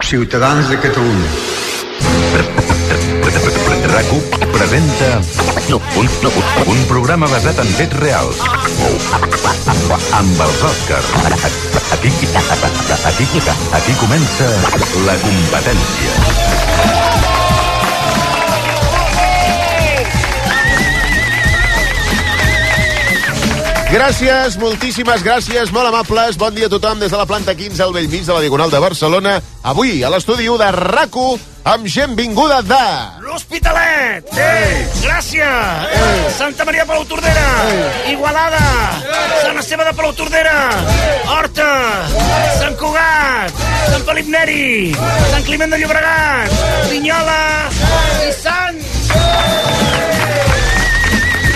Ciutadans de Catalunya. rac presenta no, un, no, un programa basat en fets reals amb els Òscars. Aquí, aquí, aquí comença la competència. Gràcies, moltíssimes gràcies, molt amables. Bon dia a tothom des de la planta 15 al vell mig de la Diagonal de Barcelona. Avui, a l'estudi 1 de rac amb gent vinguda de... L'Hospitalet! Ei! Gràcia! Ei! Santa Maria de Palau Tordera! Ei! Igualada! Ei! Sant Esteve de Palau Tordera! Ei! Horta! Ei! Sant Cugat! Ei! Sant Felip Neri! Ei! Sant Climent de Llobregat! Ei! Linyola! Ei! I Sants!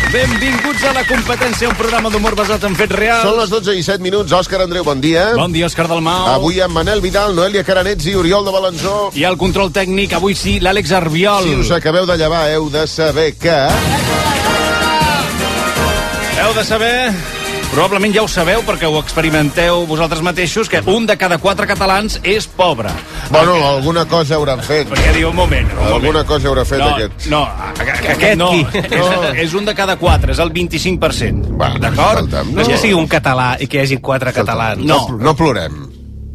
Benvinguts a la competència, un programa d'humor basat en fets reals. Són les 12 i 7 minuts. Òscar Andreu, bon dia. Bon dia, Òscar Dalmau. Avui amb Manel Vidal, Noelia Caranets i Oriol de Balanzó. I el control tècnic, avui sí, l'Àlex Arbiol. Si us acabeu de llevar, heu de saber que... Heu de saber... Probablement ja ho sabeu perquè ho experimenteu vosaltres mateixos, que un de cada quatre catalans és pobre. Bueno, alguna cosa hauran fet. Perquè diu, un moment, un moment. Alguna cosa haurà fet no, aquest. No, a- a- aquest no. És, és un de cada quatre, és el 25%. Va, D'acord? escolta'm, No és que sigui un... un català i que hi hagi quatre catalans. No, pl- no plorem.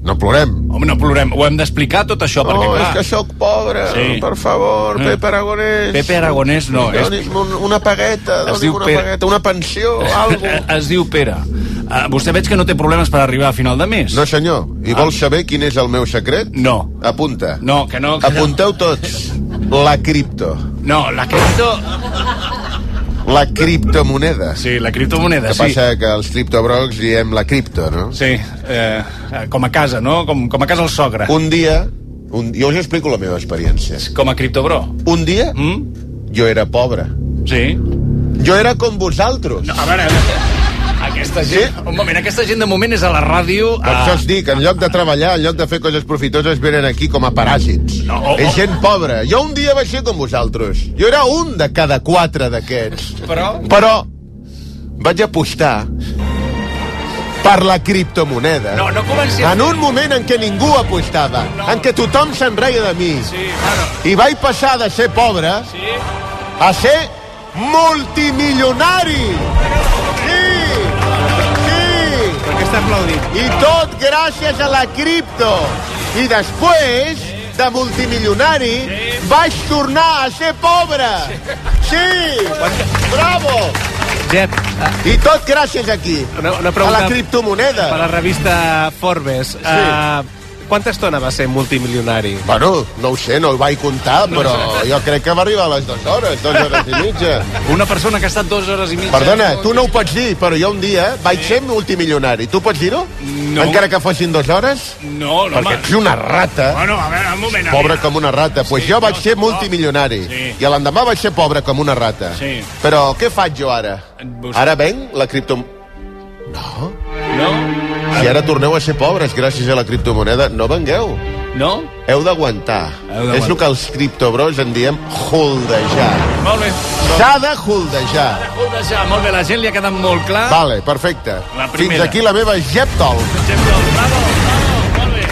No plorem. Home, no plorem, ho hem d'explicar tot això, perquè No, clar... és que sóc pobre, Sí. per favor, Eh. Pepe Aragonès. Pepe Aragonès no, és Doni'm un, una pagueta, doni'm diu una Pere. pagueta, una pensió, Eh, alguna Es diu Pere. Eh, Vostè veig que no té problemes per arribar a final de mes. No, senyor. I vols saber quin és el meu secret? No. Apunta. No, que no... Que Apunteu tots. La cripto. No, la cripto... La criptomoneda. Sí, la criptomoneda, que sí. passa que els criptobrocs diem la cripto, no? Sí, eh, com a casa, no? Com, com a casa el sogre. Un dia... Un, jo us explico la meva experiència. Com a criptobro. Un dia Mm? jo era pobre. Sí. Jo era com vosaltres. A veure, aquesta gent... Un moment, aquesta gent de moment és a la ràdio... Per A... això us dic, en lloc de treballar, en lloc de fer coses profitoses, venen aquí com a paràsits. No, oh, oh. És gent pobra. Jo un dia vaig ser com vosaltres. Jo era un de cada quatre d'aquests. Però... Però vaig apostar per la criptomoneda. No, no comenci... En un moment en què ningú apostava, en què tothom se'n reia de mi, Sí, bueno, i vaig passar de ser pobre sí. a ser multimilionari. Sí! Sí! Per què està aplaudint? I tot gràcies a la cripto. I després, de multimilionari, vaig tornar a ser pobre. Sí! Bravo! Jep, I tot gràcies aquí. Una- una a pregunta la criptomoneda. per la revista Forbes, eh, quanta estona va ser multimilionari? Bueno, no ho sé, no ho vaig comptar, però jo crec que va arribar a les dues hores, dues hores i mitja. Una persona que ha estat dues hores i mitja... Perdona, tu no ho pots dir, però jo un dia vaig ser multimilionari. Tu pots dir-ho? No. Encara que fossin dues hores? No, no, home. Perquè ets una rata. Bueno, a veure, un moment. Pobre com una rata. Doncs pues jo vaig ser multimilionari. Sí. I l'endemà vaig ser pobre com una rata. Sí. Però què faig jo ara? Vos- Ara venc la cripto... No? Si ara torneu a ser pobres gràcies a la criptomoneda, no vengueu. No? Heu d'aguantar. Heu d'aguantar. És el que els criptobros en diem holdejar. Molt bé. S'ha de holdejar. Ho deixar, molt bé, la gent li ha quedat molt clar. Vale, perfecte. La primera. Fins aquí la meva jeptol. Bravo, bravo, molt bé.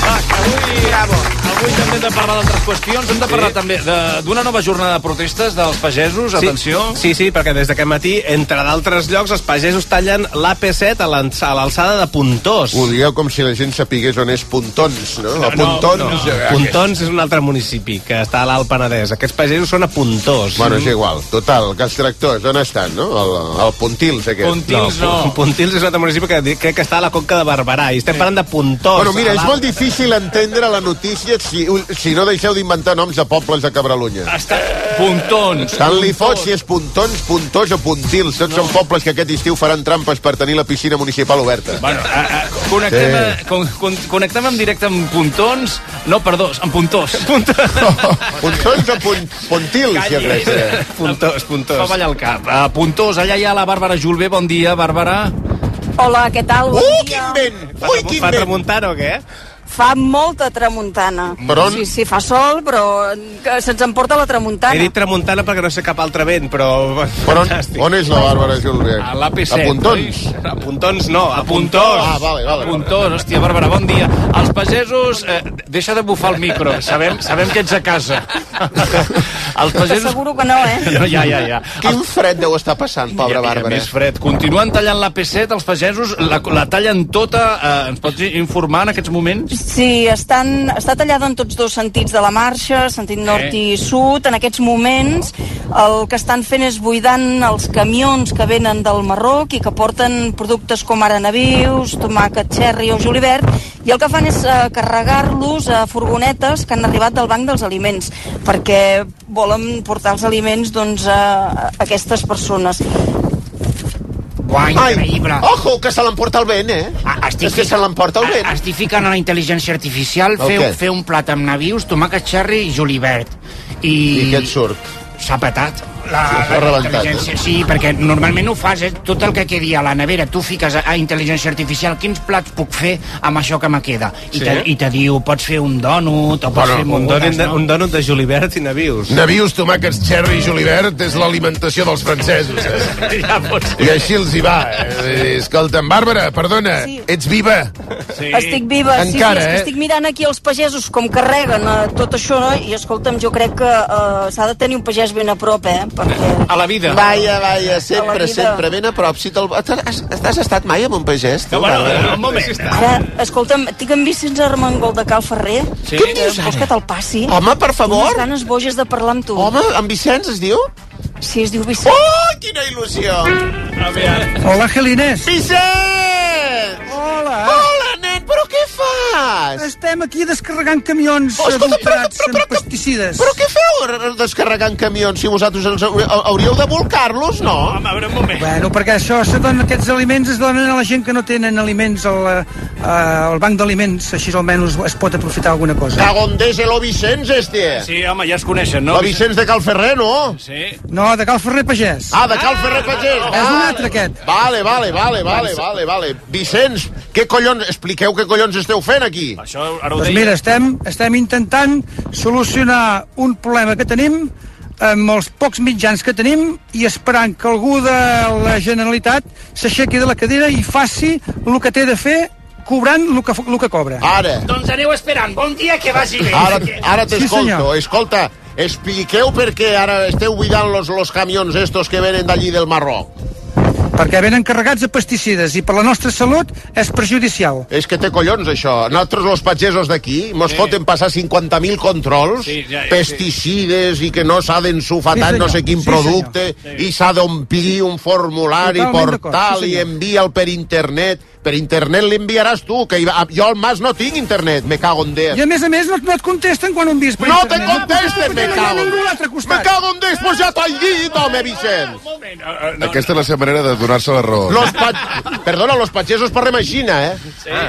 Va, que avui, bravo. avui també hem de parlar d'altres qüestions. Hem de parlar també de- d'una nova jornada de protestes dels pagesos, atenció. Sí, sí, perquè des d'aquest matí, entre d'altres llocs, els pagesos tallen l'AP7 a l'ens- a l'alçada de Puntós. Ho dieu com si la gent sapigués on és Pontons, no? A Pontons... eh, Puntons és un altre municipi que està a l'Alt Penedès. Aquests pagesos són a Puntós. Bueno, és igual. Total, que els tractors, on estan, no? El, el Pontils, aquest. Punt- Pontils no. Pontils és un altre municipi que di- crec que està a la Conca de Barberà i estem parlant de Puntós. Bueno, mira, a és l'Alt- molt difícil entendre la notícia si, si no deixeu d'inventar noms de pobles de Cabralunya. Està... Puntons. Tant li fot si és Pontons, Puntós o Puntils. Tots són pobles que aquest estiu faran trampes per tenir la piscina municipal oberta. Bueno, a, a, connectem, Sí. a, con, con, connectem en directe amb Puntons. No, perdó, amb Puntós. Pontons o punt, Pontils, si és res. eh? Puntós, Fa Puntós. ballar el cap. A Puntós, allà hi ha la Bàrbara Julvé. Bon dia, Bàrbara. Hola, què tal? Bon Uh, dia. quin vent! Ui, quin Fa vent! remuntar o què? Fa molta tramuntana. Per on? Sí, sí, fa sol, però eh, que se'ns emporta la tramuntana. He dit tramuntana perquè no sé cap altre vent, però... Per on, Fantàstic. on és la Bàrbara Julriac? A l'AP7. A Pontons. A puntons no, a puntors. Ah, vale, vale. vale. Puntós, hòstia, Bàrbara, bon dia. Els pagesos... Eh, deixa de bufar el micro, sabem, sabem que ets a casa. Els pagesos... T'asseguro que no, eh? Ja, ja, ja. ja. Quin fred deu estar passant, pobra Bàrbara? Més fred. Continuen tallant la P7, els pagesos la, la tallen tota. Eh, ens pots informar en aquests moments? Sí, estan, està tallada en tots dos sentits de la marxa, sentit nord i sud. En aquests moments el que estan fent és buidant els camions que venen del Marroc i que porten productes com ara navius, tomàquet, xerri o julivert, i el que fan és eh, carregar-los a furgonetes que han arribat del Banc dels Aliments, perquè volen portar els aliments doncs, a, a aquestes persones. Uah, Ai, increïble. ojo, que se l'emporta el vent, eh? Ah, És que se l'emporta el ah, vent. Estic ficant a la intel·ligència artificial El fer, què? fer un plat amb navius, tomàquet xerri i julivert. I, I què et surt? S'ha petat. La, s'ha rebentat, eh? intel·ligència- sí, perquè normalment ho fas, eh? Tot el que quedi a la nevera, tu fiques a, a intel·ligència artificial quins plats puc fer amb això que me queda. I, Sí? te, i te diu, pots fer un dònut, o pots Bueno, fer Un mogudes, dònut, de, no? un dònut de julivert i navius. Navius, tomàquets, xerri i julivert és l'alimentació dels francesos, eh? Ja pots. I així els hi va. Eh? Escolta'm, Bàrbara, perdona, Sí. ets viva? Sí. Estic viva, sí, Encara, sí, és eh? que estic mirant aquí els pagesos com carreguen eh, tot això i escolta'm, jo crec que eh, s'ha de tenir un pagès ben a prop, eh, perquè... A la vida. Vaja, vaja, sempre, vida. sempre, ben a prop. Si te'l... Has, has estat mai amb un pagès? Tu, No, bueno, eh. Bàrbara? un moment. Ara, escolta'm, tinc en Vicenç Armengol de Cal Ferrer. Sí? Què em dius Vols que ara? te'l passi? Home, per Unes favor. ganes boges de parlar amb tu. Home, en Vicenç es diu? Sí, es diu Vicenç. Oh, quina il·lusió! Hola, Gelinés. Vicenç! Hola. Hola, nen, però què fas? Estem aquí descarregant camions Oh, escolta, però, adulterats però, però, amb però, pesticides. però què feu r- descarregant camions si vosaltres ens hau- hauríeu de volcar-los, no? Home, a veure, un moment. Bueno, perquè això, se dona, aquests aliments es donen a la gent que no tenen aliments al, eh, al banc d'aliments, així almenys es pot aprofitar alguna cosa. Cagondés el Vicenç, eh, este. Sí, home, ja es coneixen, no? El Vicenç de Cal Ferrer, no? Sí. No, de Cal Ferrer Pagès. Ah, de Cal Ferrer Pagès. Ah. És un altre, aquest. Vale, vale, vale, vale, vale, vale. Vicenç, què collons... Expliqueu què collons esteu fent aquí. Això ara ho Doncs deia. mira, estem, estem intentant solucionar un problema que tenim amb els pocs mitjans que tenim i esperant que algú de la Generalitat s'aixequi de la cadira i faci el que té de fer cobrant el que, el que cobra. Ara, Doncs aneu esperant. Bon dia, que vagi bé. ara, ara Sí, t'escolto. senyor. Escolta, expliqueu per què ara esteu buidant los, los camions estos que venen d'allí del Marroc. perquè venen carregats de pesticides i per la nostra salut és perjudicial. És que té collons, això. Nosaltres, los pagesos d'aquí, mos foten passar 50.000 controls, Sí, ja, ja, pesticides i que no s'ha d'ensufar Sí, tant no senyor. sé quin Sí, producte i s'ha d'omplir un formulari, Totalment d'acord, portal sí, i senyor. envia'l per internet. Per internet l'enviaràs tu, que hi va- jo al Mas no tinc internet, me cago en Déu. I a més a més no, no et contesten quan ho envies per No te internet. contesten, me perquè no hi ha cago en ningú a l'altre Me costat. cago en Déu, pues ja t'ha llit, home, Vicenç. Aquesta és la seva manera de donar-se la raó. Los pa... Perdona, los pagesos parlem així, eh?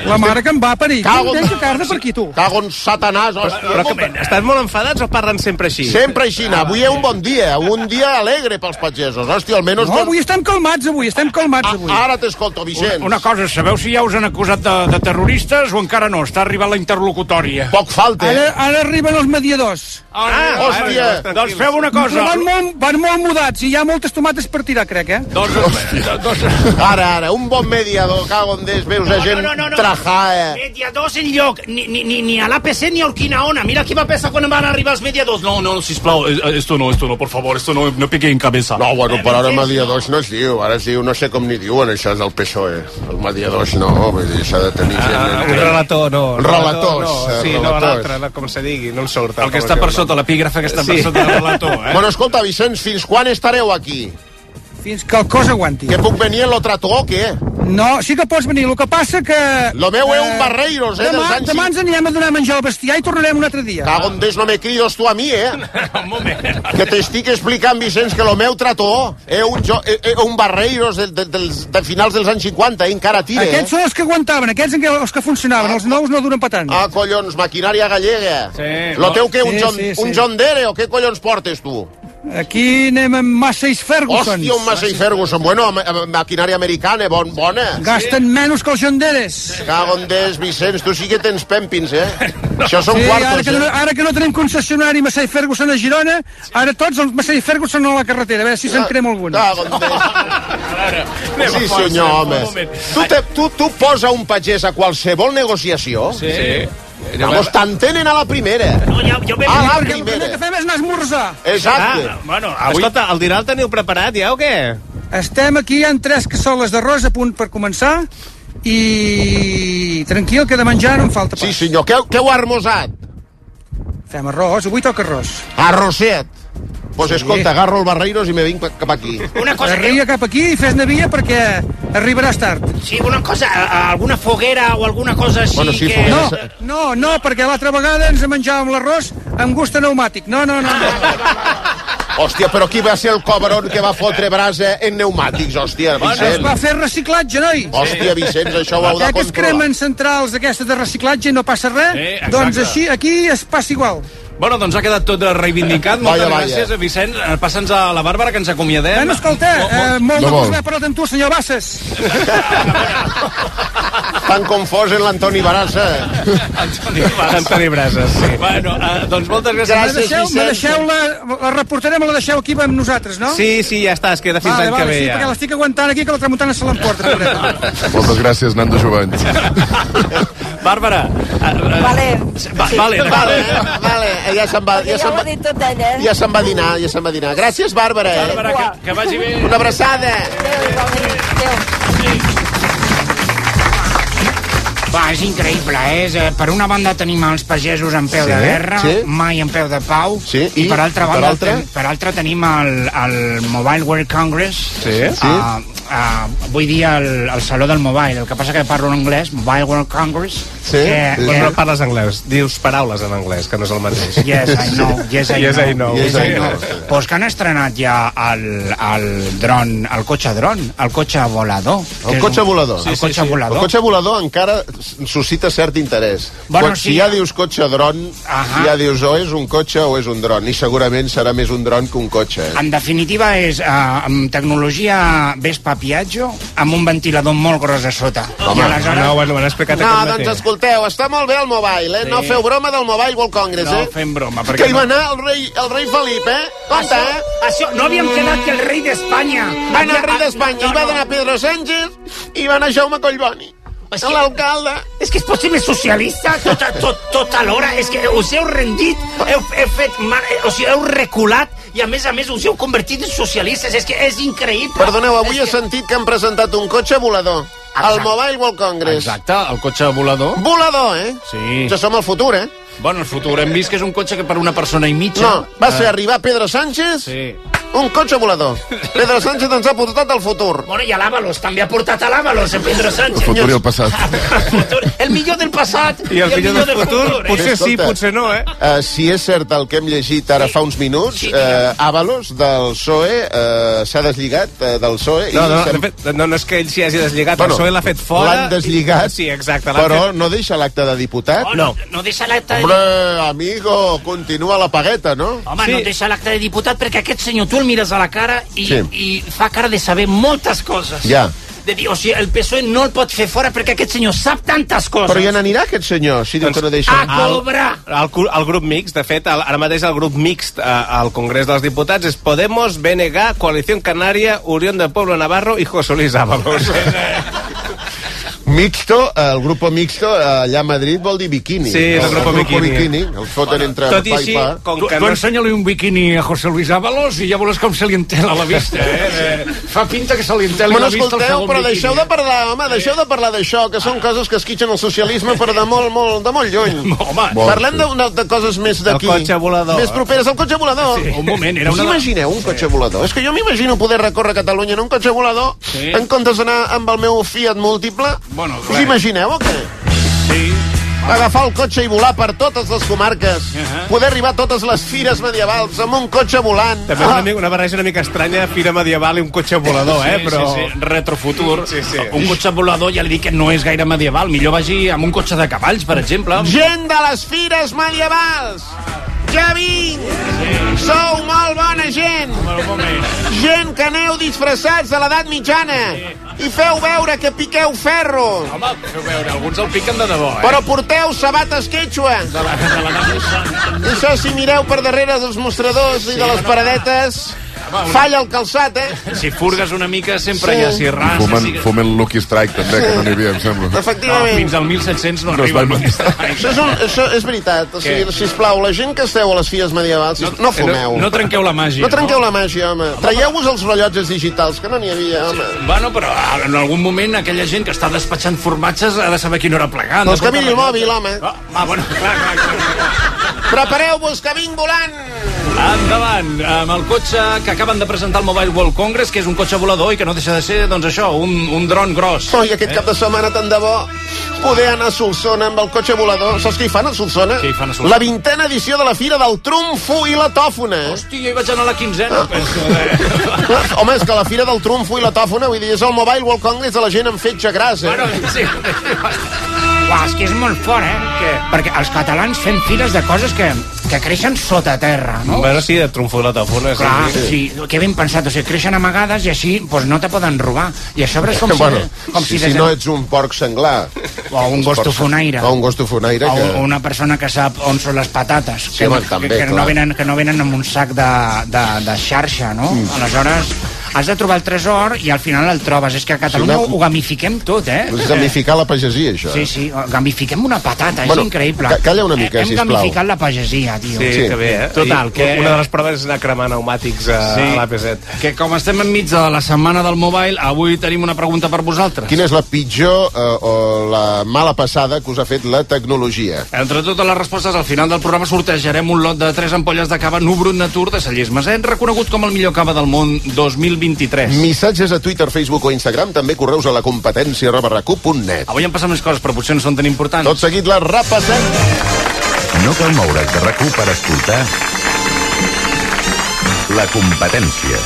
La mare que em va parir. Cago... Cago en- Tens que carda per aquí, tu. Cago en satanàs, hòstia. Però que, estan molt enfadats o parlen sempre així? Sempre així, Ah. avui és un bon dia, un dia alegre pels pagesos. Hòstia, almenys... No, avui estem calmats, avui. Estem calmats, avui. Ah, ara t'escolto, Vicenç. Una cosa, sabeu si ja us han acusat de, de terroristes o encara no? Està arribant la interlocutòria. Poc falta. Ara, eh? ara arriben els mediadors. Ah, hòstia. Doncs feu una cosa. Van molt, van molt mudats i hi ha moltes tomates per tirar, crec, eh? Doncs, doncs, Ara, ara, un bon mediador, cago en des, veus a gent trajada. Mediadors en lloc, ni, ni, ni, ni a l'APC ni al Quinaona. Mira qui va pensar quan van arribar els mediadors. No, no, Sisplau, esto no, esto no, por favor, esto no, no pique en cabeza. No, bueno, però ara mediadors no es diu, ara es diu, no sé com ni diuen això del PSOE. E. Els mediadors no, vull dir, s'ha de tenir Ah, un relator, no. Un Relators, eh, no. Sí, no, relators. l'altre, no, com se digui, no em surt. El que està per sota, l'epígrafe que està per Sí. sota del relator, eh? Bueno, escolta, Vicenç, fins quan estareu aquí? Fins que el cos aguanti. Que puc venir en l'altre eh? to o què? No, sí que pots venir. El que passa que... Lo meu és un barreiros, eh, dels Demà, anys demà cinc- ens anirem a donar a menjar al bestiar i tornarem un altre dia. Cago en des, no me cridos tu a mi, eh? Un moment. Que t'estic explicant, Vicenç, que lo meu trató és un, jo, eh, eh, un barreiros de, de, dels, de finals dels anys 50, eh? encara tira, eh? Aquests són els que aguantaven, aquests en què- els que funcionaven, els nous no duren per tant. Ah, collons, maquinària gallega. Sí, lo no. teu que un, Sí, John, sí, sí. un John Dere o què collons portes tu? Aquí anem amb Massa i Ferguson. Hòstia, un massa i Ferguson. Bueno, ama- ama- maquinària americana, bon, bona. Gasten menys que els jonderes. Cago en Déu, Vicenç, tu sí que tens pèmpins, eh? Això són sí, ara, quartos, que no, eh? ara que no tenim concessionari Massai Ferguson a Girona, ara tots els Massai Ferguson a la carretera, a veure si Ah, se'n crema algun. doncs Sí, senyor, home. Tu, te, tu, tu posa un pagès a qualsevol negociació. Sí. Sí. Eh, Vamos, t'entenen a la primera. No, jo, jo a la perquè Ah, el primera. primer que fem és anar a esmorzar. Exacte. Ah, bueno, avui... Escolta, el dinar el teniu preparat ja o què? Estem aquí, hi ha tres cassoles d'arròs a punt per començar i tranquil, que de menjar no en falta pas. Sí, senyor. Què, què heu armosat? Fem arròs, avui toca arròs. Arrosset. Pues escolta, agarro el barreiros i me vinc cap aquí. Una cosa Arria cap aquí i fes navia perquè arribaràs tard. Sí, una cosa, a- a- alguna foguera o alguna cosa així Bueno, sí, que... foguera. eh, No. No, no, perquè l'altra vegada ens menjàvem l'arròs amb gust a pneumàtic. No, no, no. no. Hòstia, però qui va ser el cobron que va fotre brasa en pneumàtics, hòstia, Es Vicenç? va fer reciclatge, noi. Hòstia, Vicenç, això ho heu de Ja que es controlar. cremen centrals d'aquestes de reciclatge i no passa res, Sí, exacte. doncs així aquí es passa igual. Bueno, doncs ha quedat tot reivindicat. Moltes Vaya, vaya. gràcies, Vicenç. Eh, Passa'ns a la Bàrbara, que ens acomiadem. Bueno, escolta, Mo- mo- eh, molt de No vol. gust haver parlat amb tu, senyor Bassas. Tan confós en l'Antoni Barassa. Antoni Brases, sí. Bueno, eh, doncs moltes gràcies. me deixeu, me deixeu la, la reportarem, la deixeu aquí amb nosaltres, no? Sí, sí, ja està, es queda fins vale, l'any vale, que ve sí, ja. perquè l'estic aguantant aquí que la tramuntana se l'emporta. pobreta. Moltes gràcies, Nando Jovany. Bàrbara. eh, Vale. Va, vale, vale, vale, ja se'n va, ja ja se'n ho va, ha dit tot ella, eh? ja se'n va dinar, ja se'n va dinar. Gràcies, Bàrbara. eh. Bàrbara, que- que vagi bé. Una abraçada. Va, és increïble, eh? És, eh? Per una banda tenim els pagesos en peu Sí, de guerra, sí. mai en peu de pau, Sí, i i, per altra per banda altra? ten- per altra tenim el, el Mobile World Congress, Sí, sí. ah, ah, vull dir el, el Saló del Mobile, el que passa que parlo en anglès, Mobile World Congress, que, Però que, no parles anglès, dius paraules en anglès, que no és el mateix. Yes, I know. Yes, I yes, know. I know. Yes, I know. Pues que han estrenat ja el, el dron, el cotxe dron, el cotxe volador. que El és cotxe un- volador. El cotxe volador. El cotxe volador encara suscita cert interès. Bueno, Quan, sí. Si ja dius cotxe dron, Ahà. ja dius o és un cotxe o és un dron. I segurament serà més un dron que un cotxe. eh? En definitiva, és eh, amb tecnologia Vespa Piaggio, amb un ventilador molt gros a sota. I aleshores... No, bueno, m'han explicat No, aquest matí. doncs escolteu, està molt bé el Mobile, eh? No Sí. feu broma del Mobile World Congress, No eh? fem broma, perquè Que hi va no. anar el rei, el rei Felip, eh? Ah, Compte, Això- eh? això- no havíem quedat que el rei d'Espanya- Va anar el rei Ah, d'Espanya, no, hi va no. anar Pedro Sánchez i va anar Jaume Collboni. És que- L'alcalde. És que és possible socialista tot, tot, tot alhora. És que us heu rendit, heu, heu fet... mar- eh, O sigui, heu reculat i, a més a més, us heu convertit en socialistes. És que és increïble. Perdoneu, Ah, avui he sentit que han presentat un cotxe volador. Al Exacte. Mobile World Congress. Exacte, el cotxe volador. Volador, eh? Sí. Ja som el futur, eh? Bueno, el futur hem vist que és un cotxe que per una persona i mitja... No, va ser Eh, arribar Pedro Sánchez Sí. un cotxe volador. Pedro Sánchez ens ha portat al futur. Bueno, i a l'Àvalos, també ha portat a l'Àvalos, en Pedro Sánchez. El futur i el passat. El millor del passat I el millor del futur, eh? eh? potser sí, Escolta. potser no, eh? Uh, si és cert el que hem llegit ara fa uns minuts, uh, Avalos del PSOE uh, s'ha deslligat uh, del PSOE No, no, i de sembla- fet, no, no és que ell s'hi hagi deslligat, bueno, Bueno, el PSOE l'ha fet fora. L'han desligat, I, sí, exacte. l'han però fet... no deixa l'acte de diputat. No. No deixa l'acte de... Hombre, amigo, continua la pagueta, no? Home, sí. no deixa l'acte de diputat perquè aquest senyor tu el mires a la cara i, Sí. sí. i fa cara de saber moltes coses. Ja. De dir, o sigui, el PSOE no el pot fer fora perquè aquest senyor sap tantes coses. Però ja n'anirà aquest senyor, si diu Doncs que no deixa... a cobrar. El, cu- el grup mixt, de fet, el, ara mateix el grup mixt eh, al Congrés dels Diputats és Podemos, BNG, Coalició Canària, Unión del Pueblo Navarro i José Luis Ábalos. Mixto, eh, el grupo mixto eh, allà a Madrid vol dir bikini. Sí, és el grupo bikini. El foten entre Tot i pa així, i pa. com Tu, que tu no... ensenya-li un biquini a José Luis Ábalos i ja veuràs com se li entela la vista, eh? Eh, Fa pinta que se li entela Bueno, la vista el escolteu, segon però biquini. eh? Ah. deixeu de parlar, home, deixeu de parlar d'això, que són coses que esquitxen el socialisme per de molt, molt, de molt lluny. Home, Parlem de, una- de coses més d'aquí. El cotxe volador. Més properes al cotxe volador. Sí. Un moment, era Us una- imagineu un cotxe volador? És que jo m'imagino poder recórrer Catalunya en un cotxe volador Sí. en comptes d'anar amb el meu Fiat múltiple. Bueno, Us clar. imagineu o què? Sí. Agafar el cotxe i volar per totes les comarques. Ahà. Poder arribar a totes les fires medievals amb un cotxe volant. Ah. També és una, mica- una barreja una mica estranya, fira medieval i un cotxe volador, eh? Sí, Però... sí, sí. Retrofutur. Sí, sí. Un cotxe volador ja li dic que no és gaire medieval. Millor vagi amb un cotxe de cavalls, per exemple. Gent de les fires medievals! Ja vinc! Sí. Sou molt bona gent! Gent que aneu disfressats de l'edat mitjana i feu veure que piqueu ferro. Home, feu veure, alguns el piquen de debò, eh? Però porteu sabates quechua. De la, de la casa santa. I això, si mireu per darrere dels mostradors i Sí, de les no. paradetes, Home, una- falla el calçat, eh? Si furgues una mica, sempre hi ha si ras... Fumen, fumen Lucky Strike, també, que no n'hi havia, em sembla. Efectivament. Fins al 1700 no, No es va arriba. manifestar. Això és, un, això és veritat. O sigui, Què? sisplau, la gent que esteu a les fies medievals, sis- no, no fumeu. No, no trenqueu la màgia. No trenqueu la màgia, home. Traieu-vos els rellotges digitals, que no n'hi havia, home. Bueno, però en algun moment aquella gent que està despatxant formatges ha de saber a quina hora plegar. Doncs que miri el mòbil, home. Ah, ah, bueno, clar, clar, clar. Prepareu-vos, que vinc volant! Endavant, amb el cotxe que acaben de presentar al Mobile World Congress, que és un cotxe volador i que no deixa de ser, doncs això, un, un dron gros. Oi, aquest cap de setmana tant de bo poder anar a Solsona amb el cotxe volador. Saps què hi fan a Solsona? Què hi fan a Solsona? La vintena edició de la Fira del Trumfo i eh? la Tòfona. Hosti, jo hi vaig anar a la Ah. quinzena, penso. Eh? Home, és que la Fira del Trumfo i la Tòfona, vull dir, és el Mobile World Congress de la gent amb fetge eh? grasa. Bueno, sí. Uah, és que és molt fort, eh? Què? Perquè els catalans fem fires de coses que, que creixen sota terra, no? Bueno, sí, de tromfo la tafona. Clar, Ah, sí, que ben pensat, o sigui, creixen amagades i així doncs, no te poden robar. I a sobre és com si... bueno, com si, si, si no ets un porc senglar. O un gos tofonaire. O un gos tofonaire. o, Que... o una persona que sap on són les patates Sí, home, també, que, que, no clar. venen, que no venen amb un sac de, de, de xarxa no? Mm. aleshores has de trobar el tresor i al final el trobes és que a Catalunya Sí, una- ho gamifiquem tot eh? És gamificar la pagesia, això. eh? sí, sí, gamifiquem una patata, Bueno, és increïble. Eh, ca- calla una mica, Hem sisplau. gamificat la pagesia, tio. Sí, sí, que bé, eh? Total, que... Una de les proves és anar cremant pneumàtics a, Sí. sí. a l'AP7. Que com estem enmig de la setmana del Mobile, avui tenim una pregunta per vosaltres. Quina és la pitjor eh, o la mala passada que us ha fet la tecnologia? Entre totes les respostes, al final del programa sortejarem un lot de 3 ampolles de cava Nubrut Natur de Sallés Maset, reconegut com el millor cava del món 2023. Missatges a Twitter, Facebook o Instagram, també correus a la competència rabarracu.net. Avui han passat més coses, però potser no són tan importants. Tot seguit la repassem. No cal moure's de rac per escoltar la competència.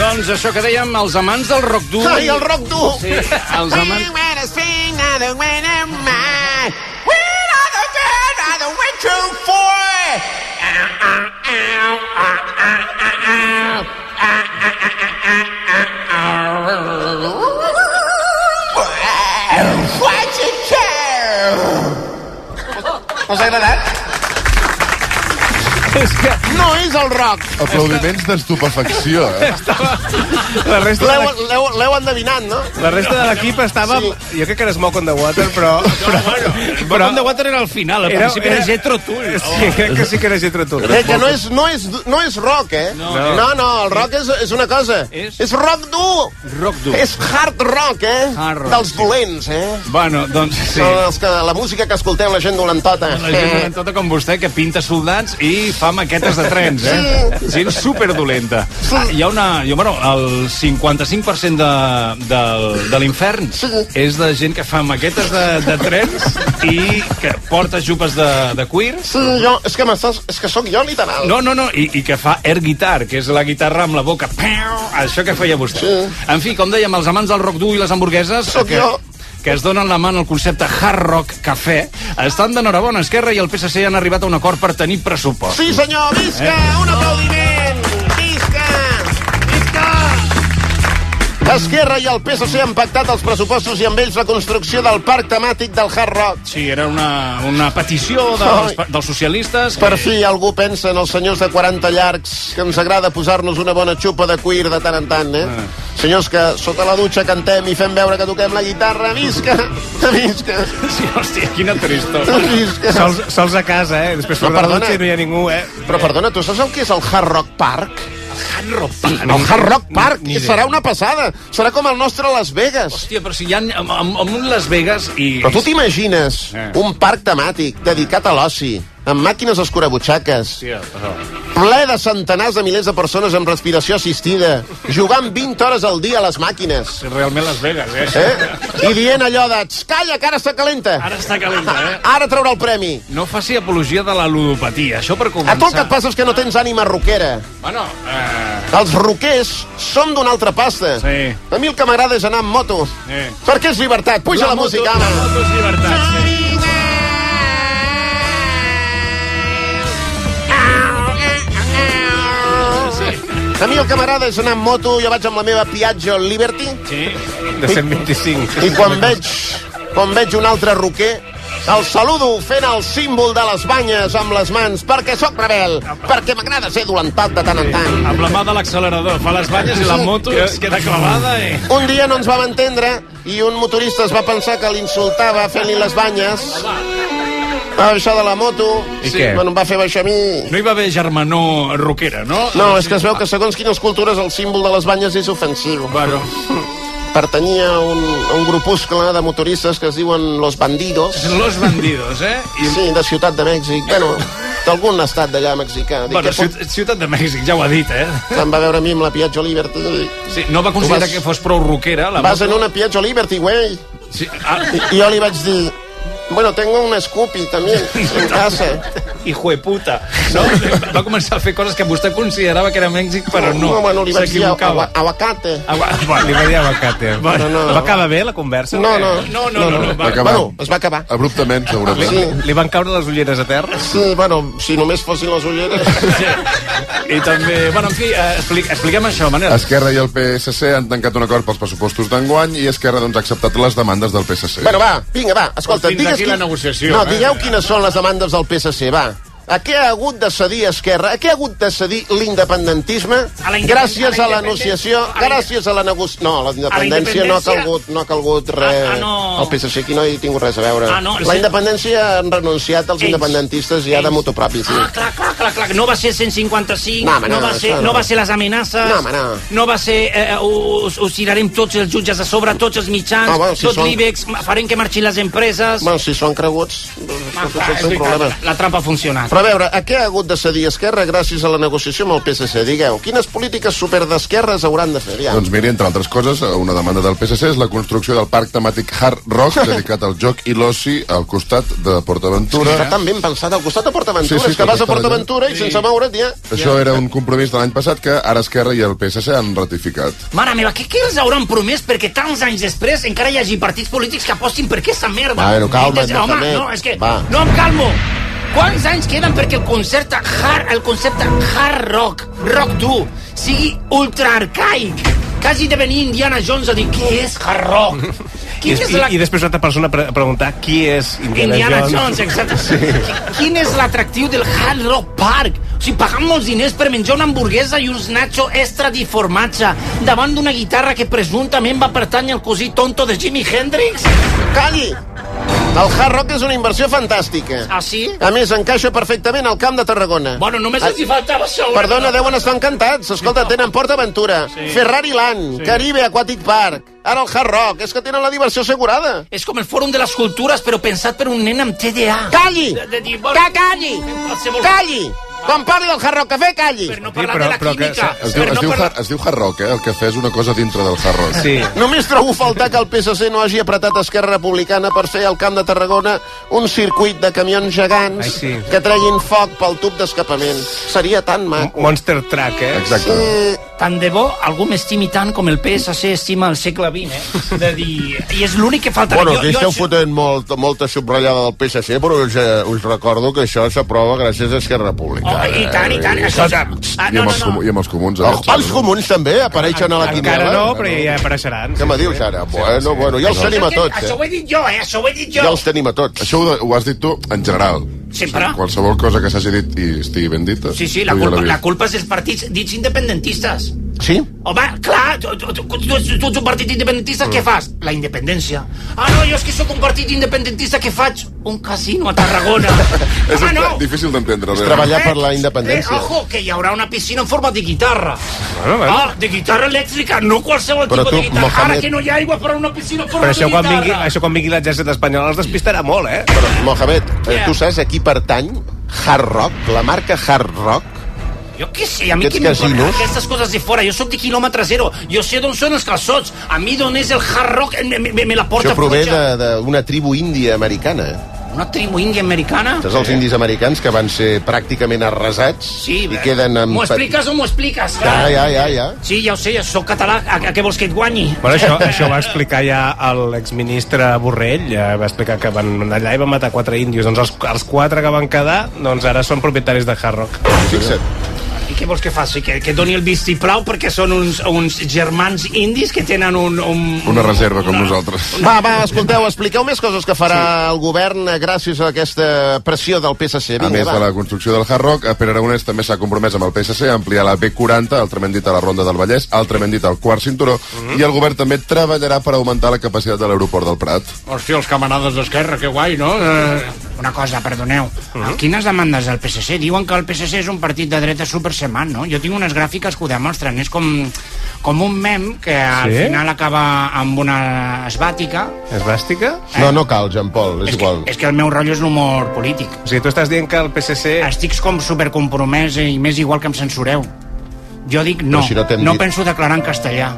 Doncs això que dèiem, els amants del rock dur... Ai, el rock dur! Sí, els amants... Us ha agradat? És que... No és el rock. Aplaudiments d'estupefacció, eh? La resta de L'heu- L'heu l'heu endevinat, no? La resta de l'equip estava... Sí. Jo crec que era Smoke on the Water, però... però, però, Però on de Water era al final, al Era- principi era, era- Jetro Tull. Sí, crec que sí que era Jethro Tull. Eh, que no és, no, és, no és rock, eh? No, no, no el rock és, és una cosa. És, és rock dur. Rock dur. És hard rock, eh? Hard rock, Dels dolents, eh? Bueno, doncs sí. Són els que, la música que escolteu, la gent dolentota. Eh, La gent dolentota com vostè, que pinta soldats i fa maquetes de trens, eh? Gent superdolenta. Ah, hi ha una... Jo, bueno, el 55% de, de, de l'infern és de gent que fa maquetes de, de trens i que porta jupes de, de cuir. Sí, jo, és que m'estàs... És que sóc jo, literal. No, no, no, i, i que fa air guitar, que és la guitarra amb la boca. Pau, això que feia vostè. En fi, com dèiem, els amants del rock dur i les hamburgueses... Sóc que, jo. que es donen la mà en el concepte hard rock cafè, estan d'enhorabona. Esquerra i el PSC han arribat a un acord per tenir pressupost. Sí, senyor, visca! Eh. Un aplaudiment! Visca! Visca! Esquerra i el PSC han pactat els pressupostos i amb ells la construcció del parc temàtic del Hard Rock. Sí, era una, una petició dels, dels socialistes. Per fi algú pensa en els senyors de 40 llargs que ens agrada posar-nos una bona xupa de cuir de tant en tant, eh? Senyors que sota la dutxa cantem i fem veure que toquem la guitarra, visca! Visca! Sí, hòstia, quina tristor. Visca! Sols, sols a casa, eh? Després surt no, No, la perdona. dutxa i no hi ha ningú, eh? Però perdona, tu saps el que és el Hard Rock Park? Hard rock. Park. El Hard Rock Park ni idea. serà una passada. Serà com el nostre Las Vegas. Hòstia, però si hi ha amb, amb, amb un Las Vegas i... Però tu t'imagines un parc temàtic dedicat a l'oci, amb màquines escurabutxaques, ple de centenars de milers de persones amb respiració assistida, jugant 20 hores al dia a les màquines. Realment Las Vegas, eh? Eh? I dient allò de, "Tx, calla, que ara està calenta. Ara està calenta, eh? Ara traurà el premi. No faci apologia de la ludopatia, això per A començar. tu el que et passa és que no tens ànima roquera. Bueno, eh... Els roquers són d'una altra pasta. Sí. A mi el que m'agrada és anar amb moto. Sí. Perquè és llibertat. Puja la, la moto- música, home. la moto és llibertat, sí. A mi el que m'agrada és anar amb moto, jo vaig amb la meva Piaggio Liberty, sí. de 125. i quan veig, quan veig un altre roquer, el saludo fent el símbol de les banyes amb les mans, perquè sóc rebel, perquè m'agrada ser dolentat de tant en tant. Amb la mà de l'accelerador, fa les banyes i la moto es queda clavada i... Un dia no ens vam entendre i un motorista es va pensar que l'insultava fent-li les banyes. Va baixar de la moto. I què? Bueno, em va fer baixar a mi. No hi va haver germanor roquera, no? No, és que es veu que segons quines cultures el símbol de les banyes és ofensiu. Bueno. Pertanyia a un, a un grupuscle de motoristes que es diuen Los Bandidos. Los Bandidos, eh? I... Sí, de Ciutat de Mèxic. Bueno, d'algun estat d'allà mexicà. Dic, Bueno, què Ciut- Ciutat de Mèxic, ja ho ha dit, eh? Em va veure a mi amb la Piaggio Liberty. Sí, no va considerar Vas- que fos prou roquera. La Vas en moto. una Piaggio Liberty, güey. Sí, ah, I, i jo li vaig dir... Bueno, tengo un Scoopy, també, en casa. Hijo de puta. No? Va començar a fer coses que vostè considerava que era Mèxic, però no. no bueno, li vaig dir S'equivocava. agu- aguacate. Agua- Li Ah, va dir abacate. No, no. Va acabar bé la conversa? No, no. No, no, no. no, Va va. acabar. Bueno, es va acabar. Abruptament, Li, segurament. Sí. li van caure les ulleres a terra? Sí, bueno, si només fossin les ulleres... I també... Bueno, en fi, eh, expli expliquem això, Manel. Esquerra i el PSC han tancat un acord pels pressupostos d'enguany i Esquerra doncs, ha acceptat les demandes del PSC. Bueno, va, vinga, va, escolta, Fins digues... aquí la negociació, No, eh? digueu quines són les demandes del PSC, va. A què ha hagut de cedir Esquerra? A què ha hagut de cedir l'independentisme? A la independ- Gràcies a a la l'anunciació, independ- a la inde- gràcies a la negociació... No, la independència independència- no ha calgut, no ha calgut res. Ah, ah, no. El PSC aquí no hi ha tingut res a veure. Ah, no, sí. La independència han renunciat els independentistes i ha de moto propi, sí. Ah, clar, clar, clar, clar. No va ser 155, No, home, no, no, va, això ser, no. no va ser les amenaces, No, home, no. no va ser eh, us, us tirarem tots els jutges a sobre, tots els mitjans, Ah, bueno, si tot són- l'IBEX, ma- farem que marxin les empreses... Bueno, si són creguts, Ah, doncs, clar, és el és seu veritat, problema. la- la trampa ha funcionat. Però a veure, a què ha hagut de cedir Esquerra gràcies a la negociació amb el PSC? Digueu, quines polítiques superdesquerres hauran de fer? Ja. Doncs miri, entre altres coses, una demanda del PSC és la construcció del parc temàtic Hard Rock dedicat al joc i l'oci al costat de PortAventura. Està tan ben pensat al costat de PortAventura. Sí, sí, és que vas a clar, PortAventura i sense moure't ja... Això era un compromís de l'any passat que ara Esquerra i el PSC han ratificat. Mare meva, què, què els hauran promès perquè tants anys després encara hi hagi partits polítics que apostin per aquesta merda? Bueno, calma't, Dites, home, Mohamed. no, és que Va. no em calmo. Quants anys queden perquè el concepte hard, el concepte hard rock, rock dur, sigui ultraarcaic? Quasi de venir Indiana Jones a dir què és hard rock? I, Quin és la... i, I després una altra persona pre preguntar qui és Indiana, Indiana Jones, exacte. Sí. Qui- Quin és l'atractiu del Hard Rock Park? O sigui, pagant molts diners per menjar una hamburguesa i uns nacho extra di formatge davant d'una guitarra que presumptament va pertànyer al cosí tonto de Jimi Hendrix? Calli! El Hard Rock és una inversió fantàstica. Ah, sí? A més, encaixa perfectament al camp de Tarragona. Bueno, només els hi faltava això. eh? una Perdona, cosa. deuen estar encantats. Escolta, tenen PortAventura, Ferrari Land, Caribe Aquatic Park, ara el Hard Rock. És que tenen la diversió assegurada. És com el Fòrum de les Cultures, però pensat per un nen amb TDA. Calli! De- de dir, bueno, Que calli! qualsevol- Calli! Quan parli del Hard Rock Café, calli! Per no Sí, parlar però- de la però que química. Es diu, per es, no diu, parlar- hard, es diu Hard Rock, eh? El cafè és una cosa dintre del Hard Rock. Sí. Només trobo a faltar que el PSC no hagi apretat Esquerra Republicana per fer al Camp de Tarragona un circuit de camions gegants Ai, sí. que treguin foc pel tub d'escapament. Seria tan maco. Monster Truck, eh? Exacte. Eh, Tant de bo algú m'estimi tant com el PSC estima el segle XX, eh? De dir... I és l'únic que falta. Bueno, Jo- que jo esteu això- fotent molt, molta subratllada del PSC, però us, eh, us recordo que això s'aprova gràcies a Esquerra Republicana. Oh, i tant, i tant, eh? això ja... Ah, I, no, amb no, els, com- no. I amb els comuns. eh? Oh, els comuns també apareixen a la Encara quinela? no, però ja apareixeran. Què me dius ara? Bueno, bueno, ja els tenim a Això que- tots, Això eh? ho he dit jo, eh? Això ho he dit jo. Ja els tenim a tots. Això ho, de- ho has dit tu en general. Sempre. Qualsevol cosa que s'hagi dit i estigui ben dita. Sí, sí, la tu ja culpa, l'havies. la culpa és dels partits dits independentistes. Sí? Home, clar, tu, tu, tu, tu, ets- tu ets un partit independentista, Mm. què fas? La independència. Ah, no, jo és que sóc un partit independentista, què faig? Un casino a Tarragona. Ah, És Home, no! difícil d'entendre. realment. Treballar per la Eh, independència. ojo, que hi haurà una piscina en forma de guitarra. Bueno, bueno. Ah, de guitarra elèctrica, no qualsevol Però tipus tu, de guitarra. Mohamed- Ara que no hi ha aigua, però una piscina en forma Però això de quan, guitarra. vingui, això quan vingui l'exèrcit espanyol els despistarà molt, eh? Però, Mohamed, eh, Què? tu saps a qui pertany Hard Rock, la marca Hard Rock, Jo què sé, a mi Aquests qui m'importa casinos? aquestes coses de fora. Jo sóc de quilòmetre zero. Jo sé d'on són els calçots. A mi d'on és el hard rock em- me, me, me la porta això prové puja. de- d'una tribu índia americana. Una tribu índia americana? Saps els indis americans que van ser pràcticament arrasats Sí, i queden amb... M'ho expliques o m'ho expliques? Ja, ja, ja, ja. Sí, ja ho sé, ja sóc català. A, a què vols que et guanyi? Bueno, això, això ho va explicar ja l'exministre Borrell, eh, va explicar que van anar allà i van matar quatre índios. Doncs els, els quatre que van quedar, doncs ara són propietaris de Hard Rock. Fixa't. I què vols que faci? Que, que doni el vistiplau perquè són uns, uns germans indis que tenen un... un... Una reserva com nosaltres. Va, va, escolteu, expliqueu més coses que farà sí. el govern eh, gràcies a aquesta pressió del PSC. A més Vinga, de va. la construcció del Hard Rock, eh, Pere Aragonès també s'ha compromès amb el PSC a ampliar la B40, altrament dit a la Ronda del Vallès, altrament dit al quart cinturó, Mhm. i el govern també treballarà per augmentar la capacitat de l'aeroport del Prat. Hòstia, els camarades d'Esquerra, que guai, no? Eh, Uh-huh. Una cosa, perdoneu. Quines demandes del PSC? Diuen que el PSC és un partit de dreta supersemant, no? Jo tinc unes gràfiques que ho demostren. És com, com un mem que al Sí? final acaba amb una esbàtica. És bàstica? No, no cal, Jean Paul, és, igual. És que el meu rotllo és l'humor polític. O sigui, tu estàs dient que el PSC... Estic com supercompromès i més igual que em censureu. Jo dic Però no, si no t'hem no dit- penso declarar en castellà.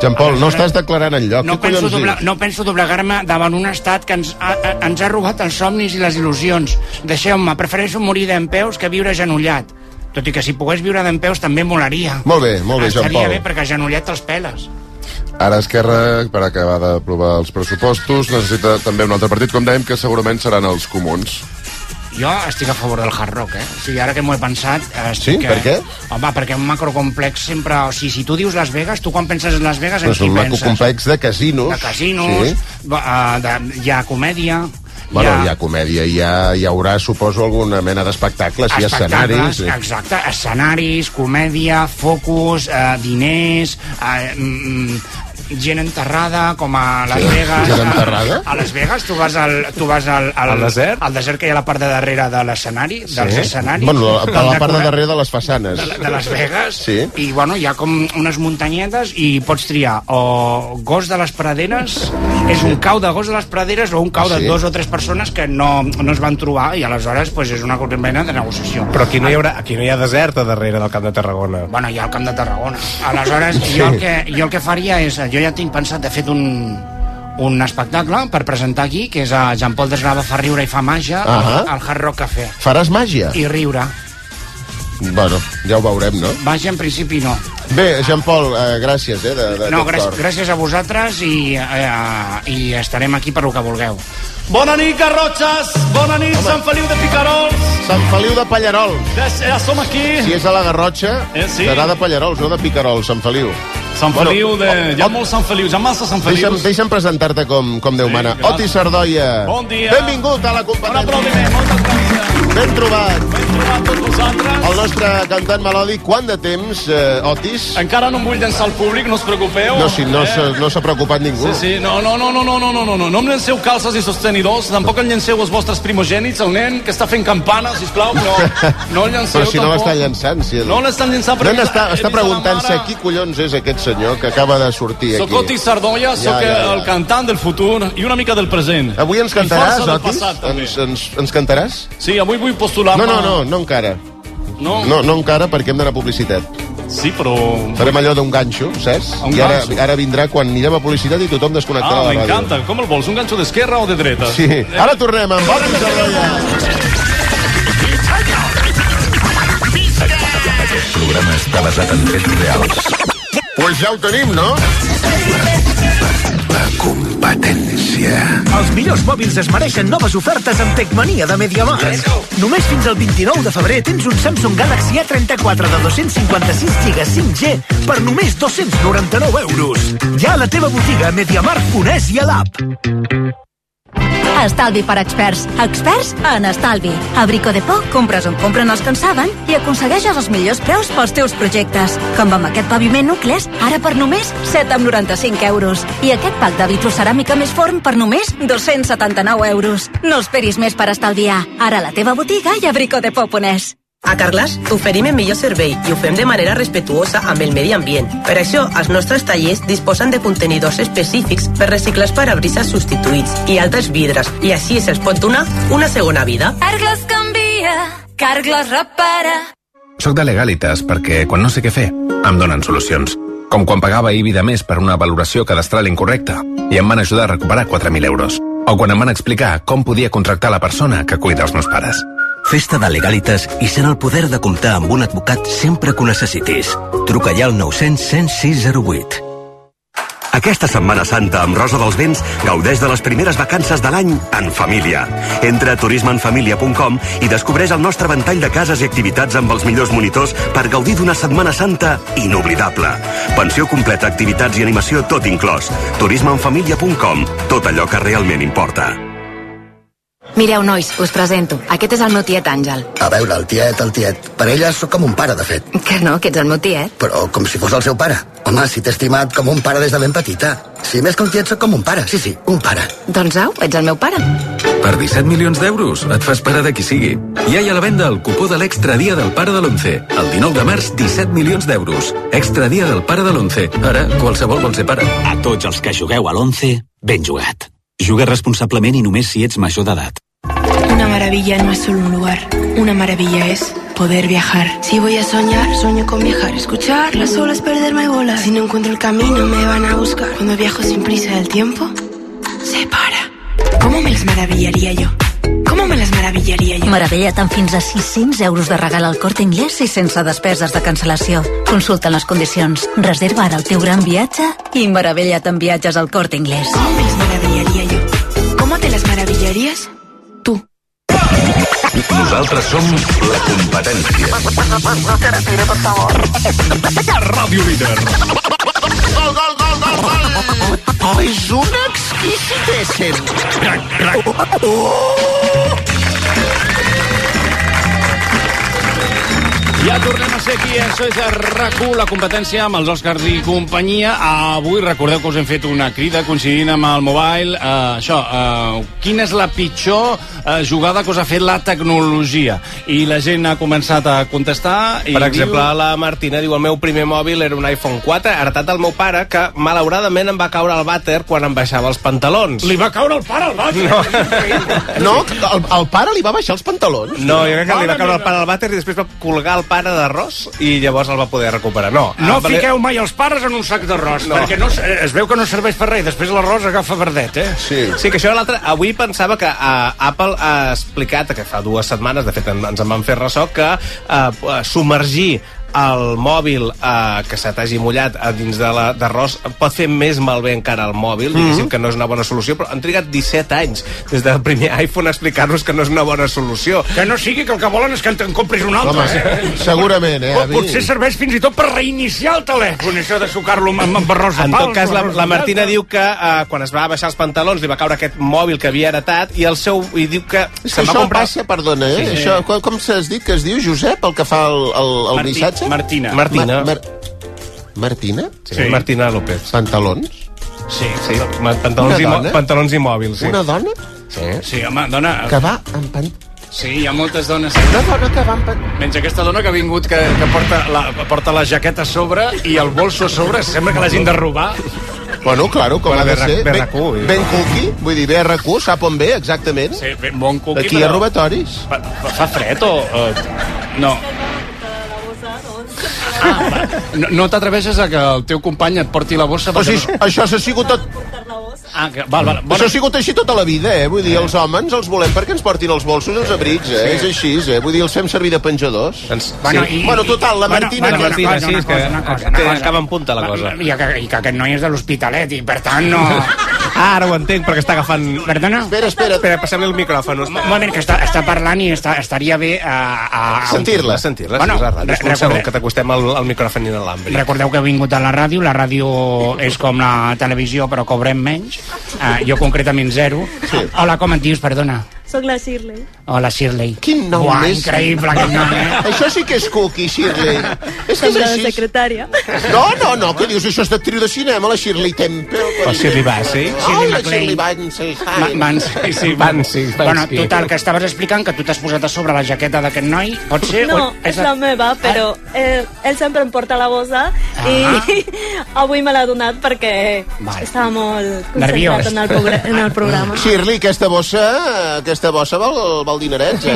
Jean Paul, no Aleshores- estàs declarant enlloc. No Què penso, collons dobla, dius? no penso doblegar-me davant un estat que ens ha, a- ens ha robat els somnis i les il·lusions. Deixeu-me, prefereixo morir d'empeus que viure genollat. Tot i que si pogués viure d'empeus també molaria. Molt bé, molt bé, Jean Estaria Paul. bé perquè genollat els peles. Ara Esquerra, per acabar d'aprovar els pressupostos, necessita també un altre partit, com dèiem, que segurament seran els comuns. Jo estic a favor del hard rock, eh? O sigui, ara que m'ho he pensat... Sí? Estic, eh, Per què? Home, perquè un macrocomplex sempre... O sigui, si tu dius Las Vegas, tu quan penses en Las Vegas, en És qui un maco penses? complex de casinos. De casinos, Sí. sí. de, hi ha comèdia... Bueno, hi ha... hi ha comèdia, hi, ha, hi haurà, suposo, alguna mena d'espectacles, hi ha Espectacles, escenaris... eh. Sí. Exacte, escenaris, comèdia, focus, eh, diners... Eh, mm, mm, gent enterrada, com a Las Sí, Vegas. gent enterrada? A, a Las Vegas tu vas al, tu vas al, al, Al desert? Al desert que hi ha a la part de darrere de l'escenari, dels escenaris. Bueno, la, a la del part de decorat- darrere de les façanes. de, la- de Las Vegas Sí. i bueno, hi ha com unes muntanyetes i pots triar o gos de les praderes és un cau de gos de les praderes o un cau Ah, sí? de dos o tres persones que no, no es van trobar i aleshores pues, és una mena de negociació Però aquí no, hi haurà, aquí no hi ha desert a darrere del Camp de Tarragona. Bueno, hi ha el Camp de Tarragona. Aleshores, jo el que, jo el que faria és... Jo ja tinc pensat, de fet, un, un espectacle per presentar aquí, que és a Jean Paul Desgrava fa riure i fa màgia Ahà. al, al Hard Rock Café. Faràs màgia? I riure. eh, Bueno, ja ho veurem, no? Màgia, en principi, no. Bé, Jean-Paul, eh, gràcies, eh, de, de No, tot gràcies, cor. gràcies a vosaltres i, eh, i estarem aquí per lo que vulgueu. Bona nit, Garrotxes! Bona nit, Home. Sant Feliu de Picarols! Sant Feliu de Pallarols. Ja, ja som aquí! Si és a la Garrotxa, Eh, sí. serà de Pallarols, no de Picarols, Sant Feliu. Sant Feliu de... Hi ha molts Sant Feliu, hi ha massa Sant Feliu. Deixa'm, deixa'm presentar-te com, com Déu mana. gràcies. Oti Sardoia. Bon dia. Benvingut a la companyia. Un aplaudiment, moltes gràcies. Ben trobat. Ben trobat tots vosaltres. El nostre cantant melòdic, quant de temps, eh, Otis? Encara no em vull llançar al públic, no us preocupeu. No, si no s'ha no s'ha preocupat ningú. Eh. Sí, sí, no, no, no, no, no, no, no, no, no, no em llenceu calces i sostenidors, tampoc en llenceu els vostres primogènits, el nen que està fent campana, sisplau, però no el llenceu Però si no tampoc. l'està llançant, si... No l'estan llançant, però No n'està- he vist- he està vist a la preguntant-se mare- qui collons és aquest senyor que acaba de sortir Soc aquí. Oti Sardoya, sóc Ja, ja, ja. el cantant del futur i una mica del present. Avui ens I força cantaràs, del Otis? passat, també. ens, ens, ens cantaràs? Sí, avui vull postular-me... No, no, no, no encara. No? No, no encara, perquè hem d'anar a publicitat. Sí, però... Farem allò d'un ganxo, saps? Un I ara, ganxo. ara vindrà quan anirem a publicitat i tothom desconnectarà Ah, la ràdio. m'encanta. Com el vols, un ganxo d'esquerra o de dreta? Sí. Ara tornem amb Otis Sardoya. Aquest programa està basat en fets reals. Pues ja ho tenim, no? La competència. Els millors mòbils es mereixen noves ofertes amb Tecmania de Mediamar. Només fins al 29 de febrer tens un Samsung Galaxy A34 de 256 GB 5G per només 299 euros. Ja a la teva botiga a Mediamar.es i a l'app. Estalvi per experts. Experts en estalvi. A Brico de Por compres on compren els que en saben i aconsegueixes els millors preus pels teus projectes. Com amb aquest paviment nucles, ara per només 7,95 euros. I aquest pack de vitroceràmica més forn per només 279 euros. No esperis més per estalviar. Ara a la teva botiga i a Brico de Por.es. A Carglass oferim el millor servei i ho fem de manera respetuosa amb el medi ambient. Per això, els nostres tallers disposen de contenidors específics per reciclar els parabrises substituïts i altres vidres, i així se'ls pot donar una segona vida. Carglass canvia, Cargles repara. Soc de Legalitas perquè, quan no sé què fer, em donen solucions. Com quan pagava IBI de més per una valoració cadastral incorrecta i em van ajudar a recuperar 4.000 euros. O quan em van explicar com podia contractar la persona que cuida els meus pares. Festa de Legalitas i sent el poder de comptar amb un advocat sempre que ho necessitis. Truca ja al 900 106 08. Aquesta Setmana Santa amb Rosa dels Vents gaudeix de les primeres vacances de l'any en família. Entra a turismeenfamilia.com i descobreix el nostre ventall de cases i activitats amb els millors monitors per gaudir d'una Setmana Santa inoblidable. Pensió completa, activitats i animació tot inclòs. turismeenfamilia.com, tot allò que realment importa. Mireu, nois, us presento. Aquest és el meu tiet Àngel. A veure, el tiet, el tiet. Per ella sóc com un pare, de fet. Que no, que ets el meu tiet. Però com si fos el seu pare. Home, si t'he estimat com un pare des de ben petita. Si més que un tiet, sóc com un pare. Sí, sí, un pare. Doncs au, ets el meu pare. Per 17 milions d'euros et fas pare de qui sigui. Ja hi ha a la venda el cupó de l'extra dia del pare de l'11. El 19 de març, 17 milions d'euros. Extra dia del pare de l'11. Ara, qualsevol vol ser pare. A tots els que jugueu a l'11, ben jugat. Juga responsablement i només si ets major d'edat. Una maravilla no es solo un lugar, una maravilla es poder viajar. Si voy a soñar, sueño con viajar, escuchar las olas, perderme y volar. Si no encuentro el camino, me van a buscar. Cuando viajo sin prisa, el tiempo se para. ¿Cómo me las maravillaría yo? ¿Cómo me las maravillaría yo? Meravella't amb fins a 600 euros de regal al Corte Inglés i sense despeses de cancel·lació. Consulta les condicions. Reserva ara el teu gran viatge i meravella't amb viatges al Corte Inglés. Maravillaría yo. ¿Cómo te las maravillarías? Nosaltres som la competència. Ràdio Líder. Gol, gol, gol, gol, gol! Oh, és una exquisitessen. Crac, crac. Oh! Ja tornem a ser aquí, eh? això és a rac la competència amb els Oscars i companyia. Avui recordeu que us hem fet una crida coincidint amb el mobile. Uh, això, uh, quina és la pitjor uh, jugada que us ha fet la tecnologia? I la gent ha començat a contestar i Per exemple, diu... la Martina diu el meu primer mòbil era un iPhone 4 heretat del meu pare que malauradament em va caure al vàter quan em baixava els pantalons. Li va caure el pare al vàter. No. No, el, el pare li va baixar els pantalons? No, jo crec que li va caure el pare al vàter i després va colgar el pare d'arròs i llavors el va poder recuperar. No, ah, No em va- fiqueu mai els pares en un sac d'arròs, No. no. perquè no, s- eh, es veu que no serveix per res. Després l'arròs agafa verdet, eh? Sí. sí, que això era l'altre... Avui pensava que uh, Apple ha explicat, que fa dues setmanes, de fet en, ens en van fer ressò, que uh, submergir el mòbil eh, que se t'hagi mullat a dins de la- d'arròs pot fer més malbé encara el Mhm. mòbil, diguéssim que no és una bona solució, però han trigat 17 anys des del primer iPhone a explicar-nos que no és una bona solució. Que no sigui que el que volen és que en compris un altre. eh? segurament, eh, O, avi? potser serveix fins i tot per reiniciar el telèfon, això de sucar-lo amb, amb arròs de En pal. tot cas, la, arròs la de Martina llata. diu que eh, quan es va baixar els pantalons li va caure aquest mòbil que havia heretat i el seu i diu que Això se'n va comprar... passa, perdona, eh? Sí, sí. Això, com, com s'has dit que es diu, Josep, el que fa el, el, el Martí- missatge? Martina. Martina. Martina? Sí. Martina López. Pantalons? Sí, sí. ma- Pantalons, Una i, mo- dona? pantalons i mòbils, sí. Una dona? Sí. Sí, home, dona... Que va amb pantalons. Sí, hi ha moltes dones. Una dona que va amb pantalons. Menys aquesta dona que ha vingut, que, que porta, la, porta la jaqueta a sobre i el bolso a sobre, sembla que l'hagin de robar. Bueno, claro, com Bueno, ha de BR- ser. Ben, BRQ, eh? ben cookie, vull dir, BRQ, sap on ve, exactament. Sí, ben bon cookie, Aquí hi ha però- robatoris. Fa, fa fred o... o... No. No, no t'atreveixes a que el teu company et porti la bossa? O perquè sigui, això s'ha sigut tot... Ah, que, val, val. Això ha sigut així tota la vida, eh? Vull dir, els homes els volem perquè ens portin els bolsos i els abrics, eh? Sí. És així, eh? Vull dir, els fem servir de penjadors. Doncs, bueno, i, bueno, total, la bueno, Martina... bueno, que- una cosa, una cosa, una cosa, una cosa. acaba en punta la cosa. Ah, I que, i que aquest noi és de l'Hospitalet i per tant no... Ah, ara ho entenc, perquè està agafant... Perdona? Espera, espera. Espera, passem-li el micròfon. Un moment, que està, està parlant i està, estaria bé eh, a... a, a Sentir-la, sentir-la. Bueno, sí, és la ràdio. re- Un segon, recorde- que t'acostem al, al micròfon inalàmbric. Recordeu que he vingut a la ràdio, la ràdio és com la televisió però cobrem menys, eh, jo concretament zero. Sí. Hola, com et dius, perdona? Soc la Shirley. Hola, Shirley. Quin nom Uah, més? increïble aquest nom, eh? Això sí que és cookie, Shirley. És que Soc és la així. secretària. No, no, no, què dius? Això és d'actriu de cinema, la Shirley Temple. O Shirley Bassey. Oh, la Shirley MacLaine. Shirley Bassey. Va- Van, sí, sí, Van, sí, van, bueno, sí. total, que estaves explicant que tu t'has posat a sobre la jaqueta d'aquest noi, pot ser? No, és la meva, però eh, ell sempre em porta la bossa i avui me l'ha donat perquè estava molt concentrat en el, progr- en el programa. Shirley, aquesta bossa, eh, aquesta aquesta bossa val, val dineret, eh?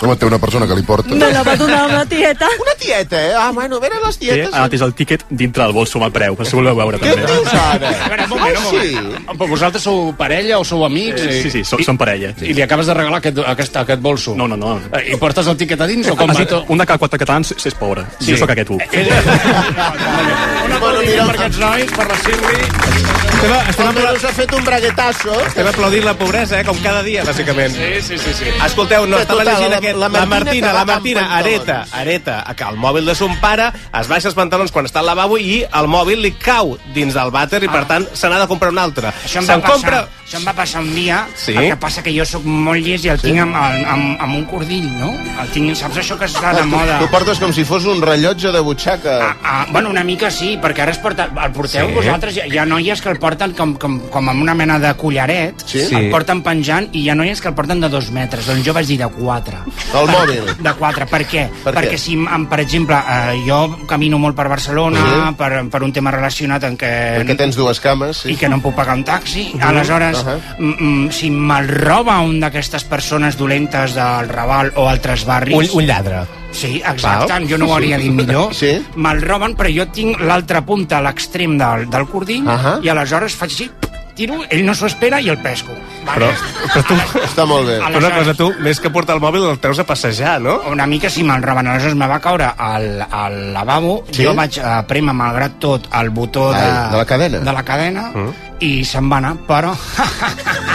Home, té una persona que li porta. Me la va donar una tieta. Una tieta, eh? Ah, bueno, venen les Té tietes. ah, anat és el tiquet dintre del bolso amb el preu, per si voleu veure Què també. dius ara? A veure, un moment, un moment. Però vosaltres sou parella o sou amics? Eh, sí, sí, som- som parella. I li acabes de regalar aquest, aquest, aquest bolso? No, no, no. I portes el tiquet a dins o com? Has dit, un de cada quatre catalans és pobre. Sí. Jo sóc Eh, aquest un. Una aplaudiment per aquests nois, per la Silvi. Estem, estem, apla... Us ha fet un braguetazo. estem aplaudint la pobresa, eh, com cada dia, bàsicament. Sí, sí, sí. sí. Escolteu, no, Que estava total, llegint la- aquest... la La, Martina Martina, que la va Martina, amb areta, pantalons. areta, que el mòbil de son pare es baixa els pantalons quan està al lavabo i el mòbil li cau dins del vàter Ah. i, per tant, se n'ha de comprar un altre. Això em, va Se'n passar, compra... això em va passar un dia, Sí? sí? el que passa que jo sóc molt llest i el sí? tinc amb, amb, amb, amb, un cordill, no? El tinc, saps això que està Ah, de tu, moda? tu portes com si fos un rellotge de butxaca. Ah, bueno, una mica sí, perquè ara es porta, el porteu Sí. sí. vosaltres, hi ha- hi ha noies que el porten com, com, com amb una mena de collaret, Sí. el Sí. porten penjant, i hi ha noies que el porten de dos metres, doncs jo vaig dir de quatre. El Per- mòbil. De quatre, per què? Per què? perquè si, em- per exemple, eh, jo camino molt per Barcelona, Sí. per, per un tema relacionat en què... Perquè tens dues cames. Sí. i que no em puc pagar un taxi. Mhm. Aleshores, Ahà. mm, mm, si me'l roba un d'aquestes persones dolentes del Raval o altres barris... Un, un lladre. Sí, exacte, Val. jo no ho hauria dit millor. Sí. Me'l roben, però jo tinc l'altra punta a l'extrem del, del cordill Ahà. i aleshores faig així, tiro, ell no s'ho espera i el pesco. Però, però tu... Està molt bé. Però una cosa, tu, més que portar el mòbil, el treus a passejar, no? Una mica si me'l roben, aleshores me va caure al, al lavabo, Sí? sí? jo vaig eh, prema, malgrat tot, el botó de, Ai, de la cadena. Mm. de la cadena i se'n va anar, però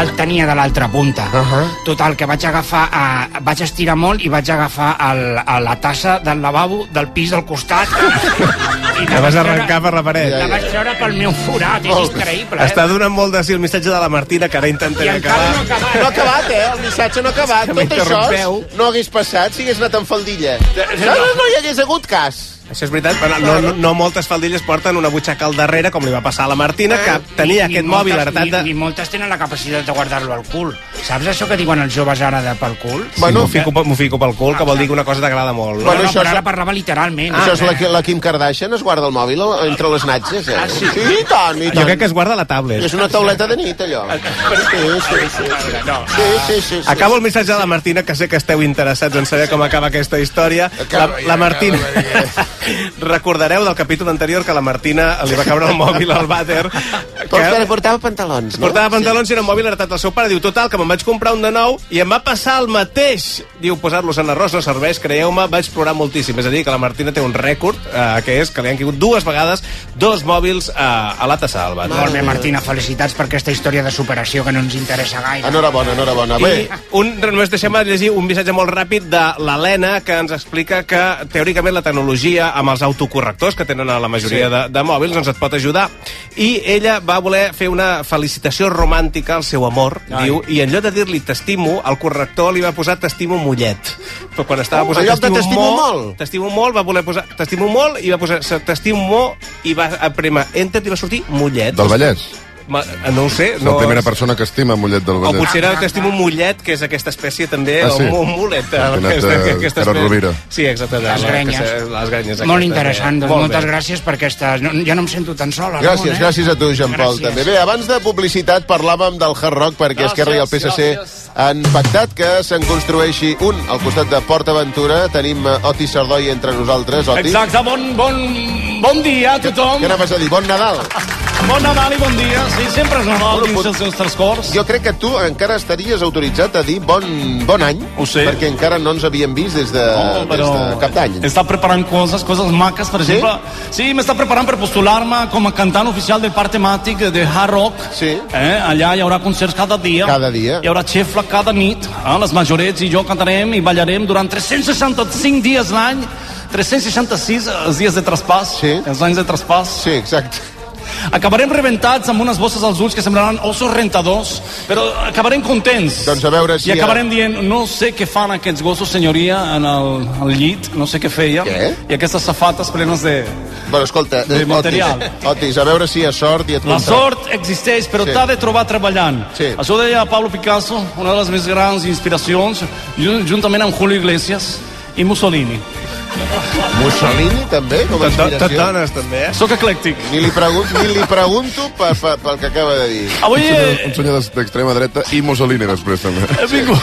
el tenia de l'altra punta. Uh -huh. Total, que vaig agafar, eh, vaig estirar molt i vaig agafar el, a la tassa del lavabo del pis del costat. I Que vas arrencar per la paret. La vaig treure pel meu forat, Oh, és increïble. Està Eh? donant molt de si el missatge de la Martina, que ara intentaré acabar. No ha acabat, eh? El missatge no ha acabat. Que Tot això m'interrompeu. no hagués passat si hagués anat en faldilla. No, no, no hi hagués hagut cas. Això és veritat, però no, no, no moltes faldilles porten una butxaca al darrere, com li va passar a la Martina, que tenia Eh, Ni- ni aquest mòbil moltes- heretat de... Ni, ni moltes tenen la capacitat de guardar-lo al cul. Saps això que diuen els joves ara de pel cul? Sí, bueno, m'ho fico, m'ho fico pel cul, que vol dir que una cosa t'agrada molt. Bueno, Bueno, no, això és- això Ah. però ara parlava literalment. Això és la, Ki- la Kim Kardashian, es guarda el mòbil eh, entre les natges, eh? eh. Ah, sí? Sí, i tant, i Jo tant. crec que es guarda a la tablet. És una tauleta de nit, allò. Ah, Sí, sí, sí. Sí, sí, sí. sí. Acabo el missatge de la Martina, que sé que esteu interessats en saber com acaba aquesta història. Acaba la, Eh, ja, la Martina... Recordareu del capítol anterior que la Martina li va caure el mòbil al vàter. Però és que ara portava pantalons, no? Portava pantalons i era un mòbil heretat del seu pare. Diu, total, que me'n vaig comprar un de nou i em va passar el mateix. Diu, posar-los en arròs no serveix, creieu-me, vaig plorar moltíssim. És a dir, que la Martina té un rècord, eh, que és que li han caigut dues vegades dos mòbils eh, a la tassa del vàter. Molt bé, Martina, felicitats per aquesta història de superació que no ens interessa gaire. Ah, Enhorabona, enhorabona. I Bé, un, només deixem llegir un missatge molt ràpid de l'Helena, que ens explica que teòricament la tecnologia amb els autocorrectors que tenen a la majoria Sí. de, de mòbils doncs et pot ajudar. I ella va voler fer una felicitació romàntica al seu amor, Ai. diu, i en lloc de dir-li t'estimo, el corrector li va posar t'estimo mollet. Però quan estava Oh, posant en lloc de "t'estimo molt". T'estimo molt, va voler posar t'estimo molt i va posar "Se- t'estimo molt i va aprema enter i va sortir mollet. Del Vallès. Ma- No ho sé. És No, la primera persona que estima Mollet del o Vallès. potser era Ah. t'estimo un mullet, que és aquesta espècie també, Ah, ah, sí. sí? o un mulet. Combinat de Carod Rovira. Sí, exacte. Les grenyes. Les grenyes. Molt aquestes, interessant, eh? doncs bé. moltes gràcies per aquesta... No, ja no em sento tan sola. Ramon, gràcies, eh? gràcies a tu, Jean-Paul, Gràcies. també. Bé, abans de publicitat parlàvem del Hard Rock perquè Gràcies, Esquerra i el PSC gràcies. han pactat que se'n construeixi un al costat de Port Aventura. Tenim eh, Otis Sardoi entre nosaltres. Otis, Exacte, bon, bon, bon dia a tothom. què anaves a dir? Bon Nadal. Bon Nadal i bon dia. Sí, sempre és Nadal dins els seus trascors. Jo crec que tu encara estaries autoritzat a dir bon, bon any, Ho sé. perquè encara no ens havíem vist des de, No, des però de cap d'any. Està preparant coses, coses maques, per Sí? exemple. Sí, m'està preparant per postular-me com a cantant oficial del parc temàtic de Hard Rock. Sí. Eh? Allà hi haurà concerts cada dia. Cada dia. Hi haurà xefla cada nit. Eh? Les majorets i jo cantarem i ballarem durant 365 dies l'any. 366 els dies de traspàs, sí. els anys de traspàs. Sí, exacte. Acabarem rebentats amb unes bosses als ulls que semblaran ossos rentadors, però acabarem contents. Doncs a veure si I acabarem dient, no sé què fan aquests gossos, senyoria, en el, al llit, no sé què feia. Què? I aquestes safates plenes de... Bueno, escolta, De eh, material. Otis, Otis, a veure si hi ha sort i et La contra- sort existeix, però Sí. t'ha de trobar treballant. Sí. Això ho deia Pablo Picasso, una de les més grans inspiracions, jun- juntament amb Julio Iglesias i Mussolini. Mussolini, també, com a Tot- tot- inspiració. tot dones, també, eh? Sóc eclèctic. Ni li, pregun ni li pregunto pel, pel, pel que acaba de dir. Avui, Un senyor, eh, un senyor d'es- d'extrema dreta i Mussolini després, també. He vingut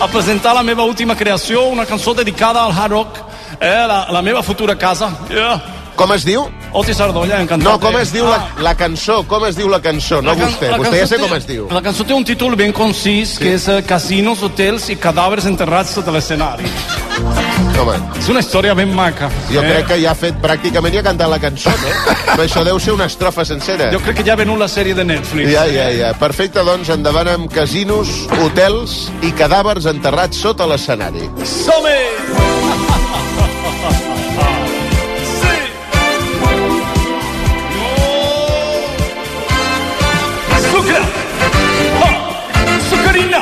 a presentar la meva última creació, una cançó dedicada al hard rock, eh, la, la meva futura casa. Yeah. Com es diu? Otis Ardolla, encantat. No, com es diu la, la cançó? Com es diu la cançó? No Ah. La can- vostè. la Vostè ja cançó sé com té- es diu. La cançó té un títol ben concís, sí. que és eh, Casinos, hotels i cadàvers enterrats sota l'escenari. Home, és una història ben maca. Jo Eh. crec que ja ha fet pràcticament i ha cantat la cançó, no? Però això deu ser una estrofa sencera. Jo crec eh? que ja ha venut la sèrie de Netflix. Ja, ja, ja. Perfecte, doncs, endavant amb casinos, hotels i cadàvers enterrats sota l'escenari. Som-hi! Oh! Sucre! Oh, sucarina!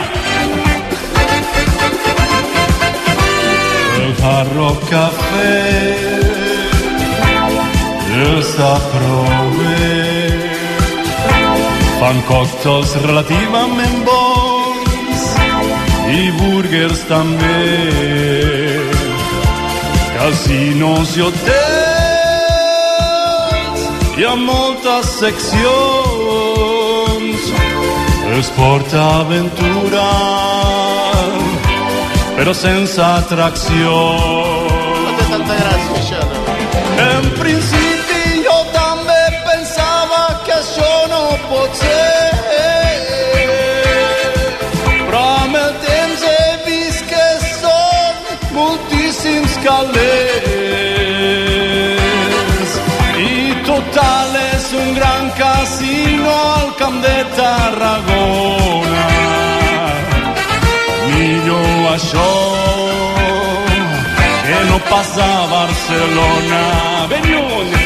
El Hard Café els aprove fan còctels relativament bons i burgers també casinos i hotels hi ha moltes seccions es porta aventura però sense atracció No té tanta gràcia, això, no? En principi jo també pensava que això no pot ser. Però amb el temps he vist que són moltíssims calés. I total és un gran casino al camp de Tarragona. Millor això que no passa a Barcelona. Benlluny!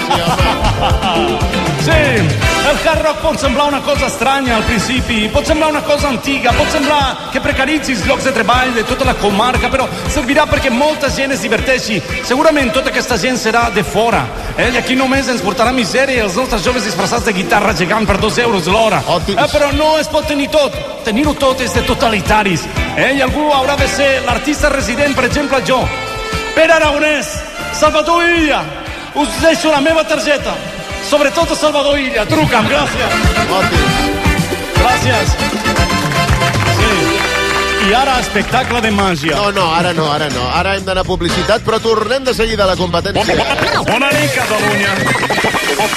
Sí, el hard rock pot semblar una cosa estranya al principi, pot semblar una cosa antiga, pot semblar que precaritzis llocs de treball de tota la comarca, però servirà perquè molta gent es diverteixi. Segurament tota aquesta gent serà de fora, eh? i aquí només ens portarà misèria els nostres joves disfressats de guitarra gegant per dos euros l'hora. Eh, però no es pot tenir tot. Tenir-ho tot és de totalitaris. Eh? I algú haurà de ser l'artista resident, per exemple, jo. Pere Aragonès, Salvador Illa, us deixo la meva targeta. Sobretot a Salvador Illa, truca'm, gràcies. Gràcies. Sí. I ara, espectacle de màgia. No, no, ara no, ara no. Ara hem d'anar a publicitat, però tornem de seguida a la competència. Bona nit, Catalunya.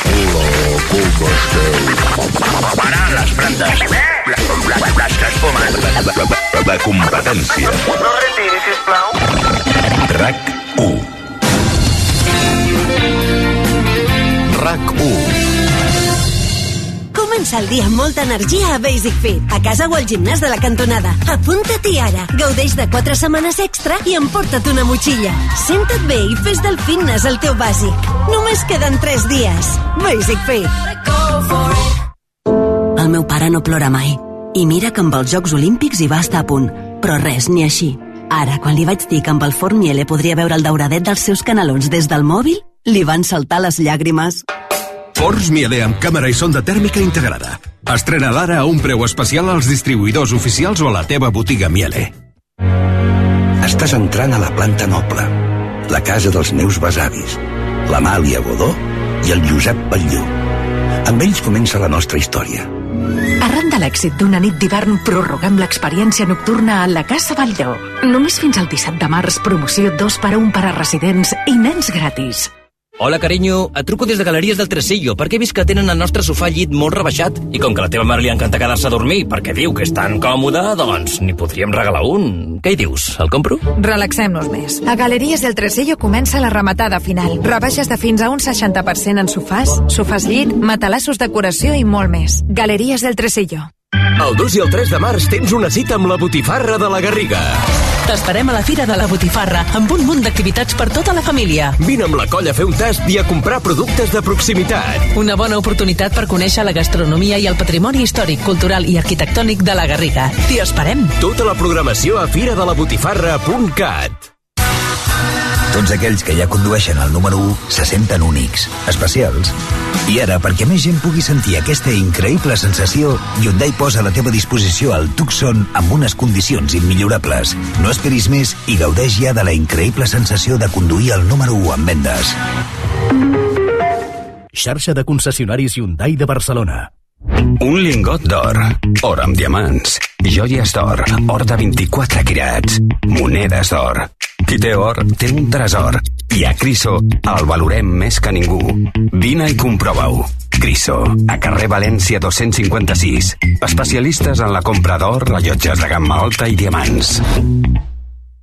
Parar les brandes. Les que es fumen. La competència. No retiri, sisplau. RAC 1. RAC 1. Comença el dia amb molta energia a Basic Fit. A casa o al gimnàs de la cantonada. Apunta-t'hi ara. Gaudeix de 4 setmanes extra i emporta't una motxilla. Senta't bé i fes del fitness el teu bàsic. Només queden 3 dies. Basic Fit. El meu pare no plora mai. I mira que amb els Jocs Olímpics hi va estar a punt. Però res, ni així. Ara, quan li vaig dir que amb el Fort Miele podria veure el dauradet dels seus canalons des del mòbil, li van saltar les llàgrimes. Forns Miele amb càmera i sonda tèrmica integrada. Estrena d'ara a un preu especial als distribuïdors oficials o a la teva botiga Miele. Estàs entrant a la planta noble, la casa dels meus besavis, l'Amàlia Godó i el Josep Batlló. Amb ells comença la nostra història. Arran de l'èxit d'una nit d'hivern prorroguem l'experiència nocturna a la Casa Valldó. Només fins al 17 de març, promoció 2 per a 1 per a residents i nens gratis. Hola, carinyo. Et truco des de Galeries del Tresillo perquè he vist que tenen el nostre sofà llit molt rebaixat i com que a la teva mare li encanta quedar-se a dormir perquè diu que és tan còmode, doncs n'hi podríem regalar un. Què hi dius? El compro? Relaxem-nos més. A Galeries del Tresello comença la rematada final. Rebaixes de fins a un 60% en sofàs, sofàs llit, matalassos decoració i molt més. Galeries del Tresello. El 2 i el 3 de març tens una cita amb la botifarra de la Garriga. T'esperem a la Fira de la Botifarra amb un munt d'activitats per tota la família. Vine amb la colla a fer un tast i a comprar productes de proximitat. Una bona oportunitat per conèixer la gastronomia i el patrimoni històric, cultural i arquitectònic de la Garriga. T'hi esperem. Tota la programació a firadelabotifarra.cat Tots aquells que ja condueixen el número 1 se senten únics, especials. I ara, perquè més gent pugui sentir aquesta increïble sensació, Hyundai posa a la teva disposició el Tucson amb unes condicions immillorables. No esperis més i gaudeix ja de la increïble sensació de conduir el número 1 en vendes. Xarxa de concessionaris Hyundai de Barcelona. Un lingot d'or, or amb diamants, joies d'or, or de 24 quirats, monedes d'or. Qui té or té un tresor i a Criso el valorem més que ningú. Vine i comprova-ho. Criso, a carrer València 256. Especialistes en la compra d'or, rellotges de gamma alta i diamants.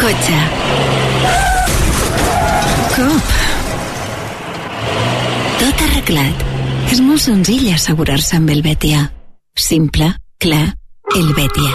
Cotxe. Cop. Tot arreglat. És molt senzill assegurar-se amb el Betia. Simple, clar, el Betia.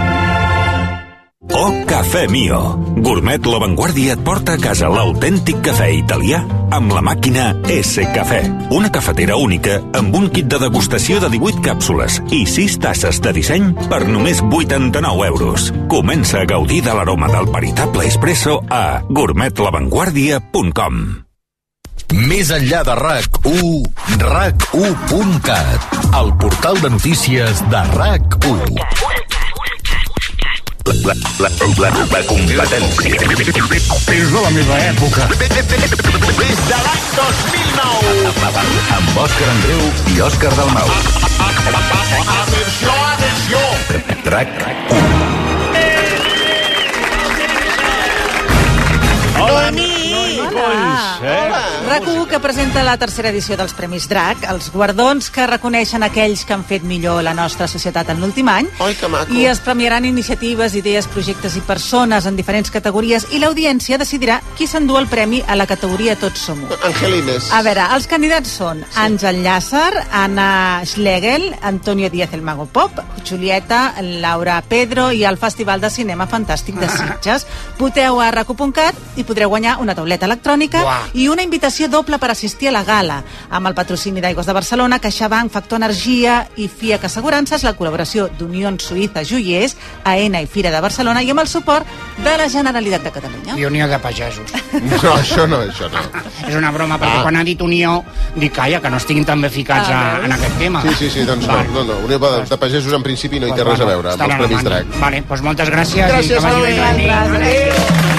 O Oh, Cafè Mio. Gourmet La Vanguardia et porta a casa l'autèntic cafè italià amb la màquina S Cafè. Una cafetera única amb un kit de degustació de 18 càpsules i 6 tasses de disseny per només 89 euros. Comença a gaudir de l'aroma del veritable espresso a gourmetlavanguardia.com Més enllà de RAC1, RAC1.cat, el portal de notícies de RAC1. La, la, la, la, la competència. És de la meva època. Des de l'any 2009. Amb Òscar Andreu i Òscar Dalmau. Atenció, atenció. RAC RAC1 que presenta la tercera edició dels Premis DRAC, els guardons que reconeixen aquells que han fet millor la nostra societat en l'últim any. Oi, que maco. I es premiaran iniciatives, idees, projectes i persones en diferents categories i l'audiència decidirà qui s'endú el premi a la categoria Tots som un. Angelines. A veure, els candidats són Àngel Llàcer, Anna Schlegel, Antonio Díaz el Mago Pop, Julieta, Laura Pedro i el Festival de Cinema Fantàstic Ah. de Sitges. Voteu a racu.cat i podreu guanyar una tauleta electrònica Uah. i una invitació doble per assistir a la gala, amb el patrocini d'Aigües de Barcelona, CaixaBank, Factor Energia i FIAC Assegurances, la col·laboració d'Unió Suïssa Joiers, AENA i Fira de Barcelona i amb el suport de la Generalitat de Catalunya. I Unió de Pagesos. No, això no, això no. És una broma, perquè Ah. quan ha dit Unió, dic, calla, que no estiguin tan bé ficats a, en aquest tema. Sí, sí, sí, doncs no, no, no. Unió de, de Pagesos en principi no hi Doncs té res a veure amb els Premis Drac. Vale, doncs moltes gràcies. i Gràcies, que vagi bé. Noel.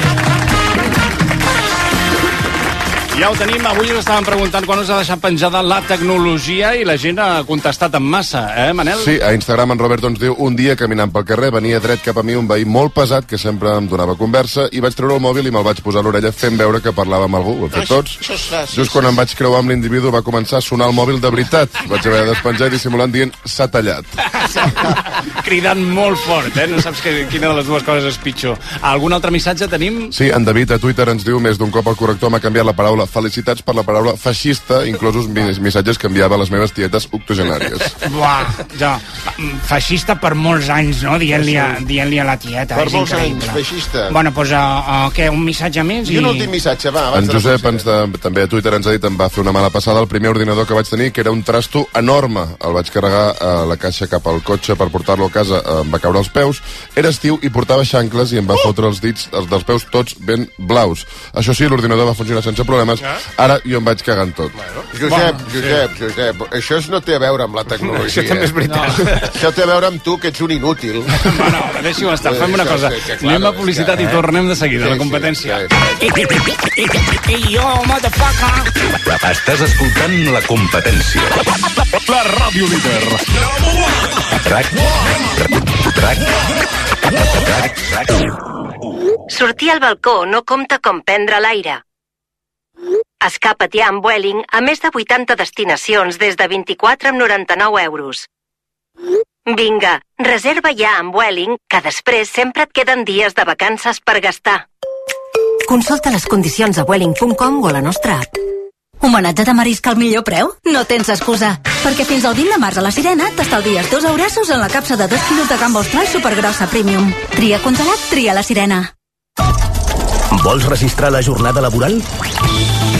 Ja ho tenim. Avui us estàvem preguntant quan us ha deixat penjada la tecnologia i la gent ha contestat en massa, eh, Manel? Sí, a Instagram en Roberto ens diu un dia caminant pel carrer venia dret cap a mi un veí molt pesat que sempre em donava conversa i vaig treure el mòbil i me'l vaig posar a l'orella fent veure que parlava amb algú. Ho hem fet tots. Això és fàcil. Just quan em vaig creuar amb l'individu va començar a sonar el mòbil de veritat. Vaig haver de despenjar i dissimulant dient s'ha tallat. Cridant molt fort, eh? No saps que, quina de les dues coses és pitjor. Algun altre missatge tenim? Sí, en David a Twitter ens diu més d'un cop el corrector m'ha canviat la paraula felicitats per la paraula feixista, inclosos mis- missatges que enviava a les meves tietes octogenàries. Buah, ja. Mm, Feixista per molts anys, no? Dient-li a, dient a la tieta. Per és molts increïble. anys, feixista. Bueno, doncs, uh, uh, què, un missatge més? I un últim missatge, va, abans En de la Josep ens de, també a Twitter ens ha dit em va fer una mala passada el primer ordinador que vaig tenir, que era un trasto enorme. El vaig carregar eh, a la caixa cap al cotxe per portar-lo a casa, eh, em va caure als peus. Era estiu i portava xancles i em va fotre els dits els dels peus tots ben blaus. Això sí, l'ordinador va funcionar sense problemes programes. Ara jo em vaig cagant tot. Bueno. Josep, Josep, Josep, això és no té a veure amb la tecnologia. Això també és veritat. No. Això té a veure amb tu, que ets un inútil. Bueno, deixi-ho estar, fem una cosa. Anem a publicitat i tornem de eh? seguida, la competència. I jo, motherfucker! Estàs escoltant la competència. La ràdio líder. RAC. RAC. RAC. RAC. Sortir al balcó no compta com prendre l'aire. Escapa-t'hi amb Vueling a més de 80 destinacions des de 24 amb 99 euros. Vinga, reserva ja amb Vueling, que després sempre et queden dies de vacances per gastar. Consulta les condicions a welling.com o a la nostra app. Homenatge de marisc al millor preu? No tens excusa, perquè fins al 20 de març a la Sirena t'estalvies dos eurassos en la capsa de 2 quilos de gamba austral supergrossa premium. Tria congelat, tria la Sirena. Vols registrar la jornada laboral?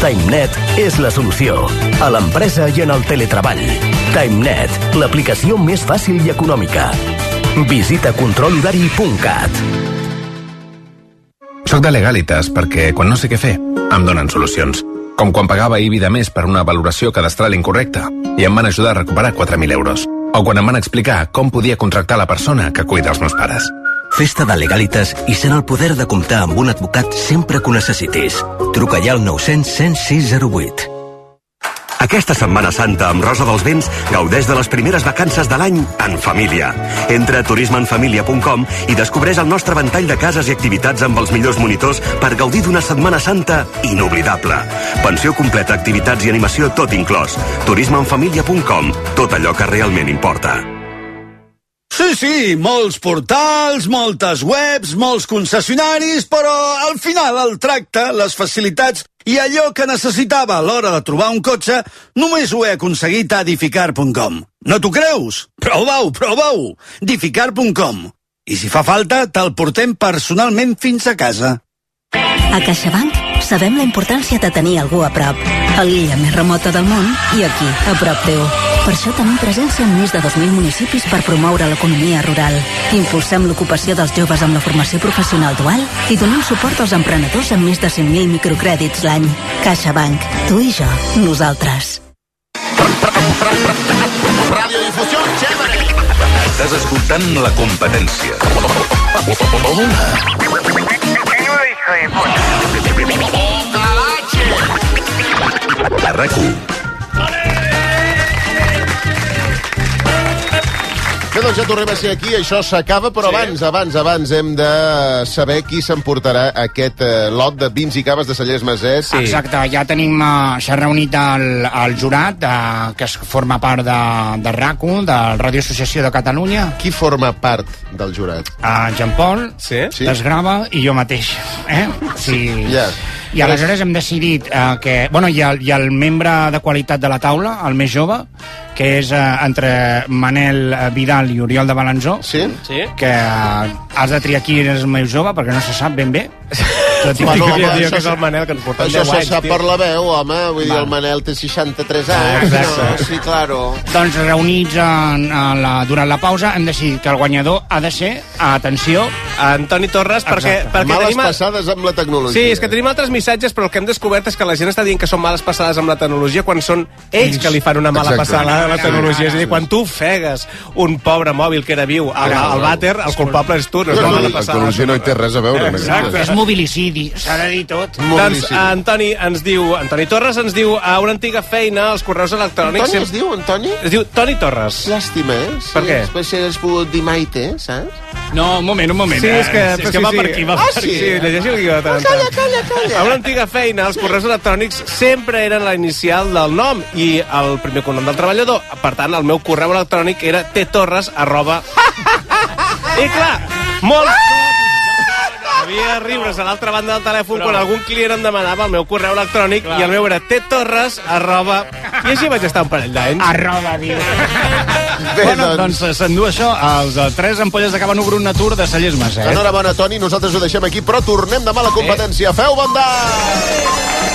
TimeNet és la solució. A l'empresa i en el teletreball. TimeNet, l'aplicació més fàcil i econòmica. Visita controlhorari.cat. Soc de Legalitas perquè, quan no sé què fer, em donen solucions. Com quan pagava IBI de més per una valoració cadastral incorrecta i em van ajudar a recuperar 4.000 euros. O quan em van explicar com podia contractar la persona que cuida els meus pares. Festa de Legalitas i sent el poder de comptar amb un advocat sempre que ho necessitis. Truca ja al 900 106 08. Aquesta Setmana Santa amb Rosa dels Vents gaudeix de les primeres vacances de l'any en família. Entra a turismeenfamilia.com i descobreix el nostre ventall de cases i activitats amb els millors monitors per gaudir d'una Setmana Santa inoblidable. Pensió completa, activitats i animació tot inclòs. turismeenfamilia.com, tot allò que realment importa. Sí, sí, molts portals, moltes webs, molts concessionaris, però al final el tracte, les facilitats i allò que necessitava a l'hora de trobar un cotxe només ho he aconseguit a edificar.com. No t'ho creus? Prova-ho, prova-ho! edificar.com. I si fa falta, te'l portem personalment fins a casa. A CaixaBank sabem la importància de tenir algú a prop. A l'illa més remota del món i aquí, a prop teu. Per això tenim presència en més de 2.000 municipis per promoure l'economia rural. Impulsem l'ocupació dels joves amb la formació professional dual i donem suport als emprenedors amb més de 100.000 microcrèdits l'any. CaixaBank. Tu i jo. Nosaltres. Radiodifusió, xèvere! Estàs escoltant la competència. A RAC1. Bé, doncs ja tornem a ser aquí, això s'acaba, però sí. abans, abans, abans hem de saber qui s'emportarà aquest eh, lot de vins i caves de Cellers Masès. Sí. Exacte, ja tenim, eh, s'ha reunit el, el jurat, eh, que es forma part de, de RACU, de Radio Associació de Catalunya. Qui forma part del jurat? Eh, Jean-Paul, sí? Sí. Desgrava i jo mateix. Eh? Sí. Ja. I aleshores hem decidit eh, que... Bueno, hi ha, hi ha el membre de qualitat de la taula, el més jove, que és eh, entre Manel eh, Vidal i Oriol de Balanzó, sí? Sí. que eh, has de triar qui és el més jove, perquè no se sap ben bé. Tot i Bueno, que- home, això és el Manel, que ens porta Això 10 se anys, sap tio. per la veu, home. Vull dir, Va. el Manel té 63 Ah, anys. Exacte. No? Sí, claro. Doncs reunits en, en la, durant la pausa hem decidit que el guanyador ha de ser, atenció... Antoni Torres, perquè, perquè Males tenim... passades amb la tecnologia. Sí, és que tenim altres missatges, però el que hem descobert és que la gent està dient que són males passades amb la tecnologia quan són ells que li fan una mala Exacte. passada a la tecnologia. És a dir, quan tu ofegues un pobre mòbil que era viu al, al vàter, el culpable és tu, no és La la mala passada. tecnologia no hi té res a veure. amb aquest Exacte. cas. És mobilicidi, s'ha de dir tot. Doncs Antoni ens diu, Antoni Torres ens diu a una antiga feina, els correus electrònics... Antoni es diu, Antoni? Es diu Toni Torres. Llàstima, eh? Sí, Per què? Després si hagués pogut dir Maite, saps? No, un moment, un moment. Sí, és que, eh? és que va per aquí, va ah, per sí? aquí. Sí, llegeixi el guió de tant en tant. Calla, calla. A una antiga feina, els correus electrònics sempre eren la inicial del nom i el primer cognom del treballador. Per tant, el meu correu electrònic era ttorres arroba... I clar, molts cops havia riures a l'altra banda del telèfon quan algun client em demanava el meu correu electrònic i el meu era ttorres arroba... I així vaig estar un parell d'anys. Arroba, diu. Bé, bueno, doncs, doncs s'endú això als eh, tres ampolles de cava Brut Natur de Cellers eh? Maset. Enhorabona, Toni, nosaltres ho deixem aquí, però tornem demà a la competència. Feu banda!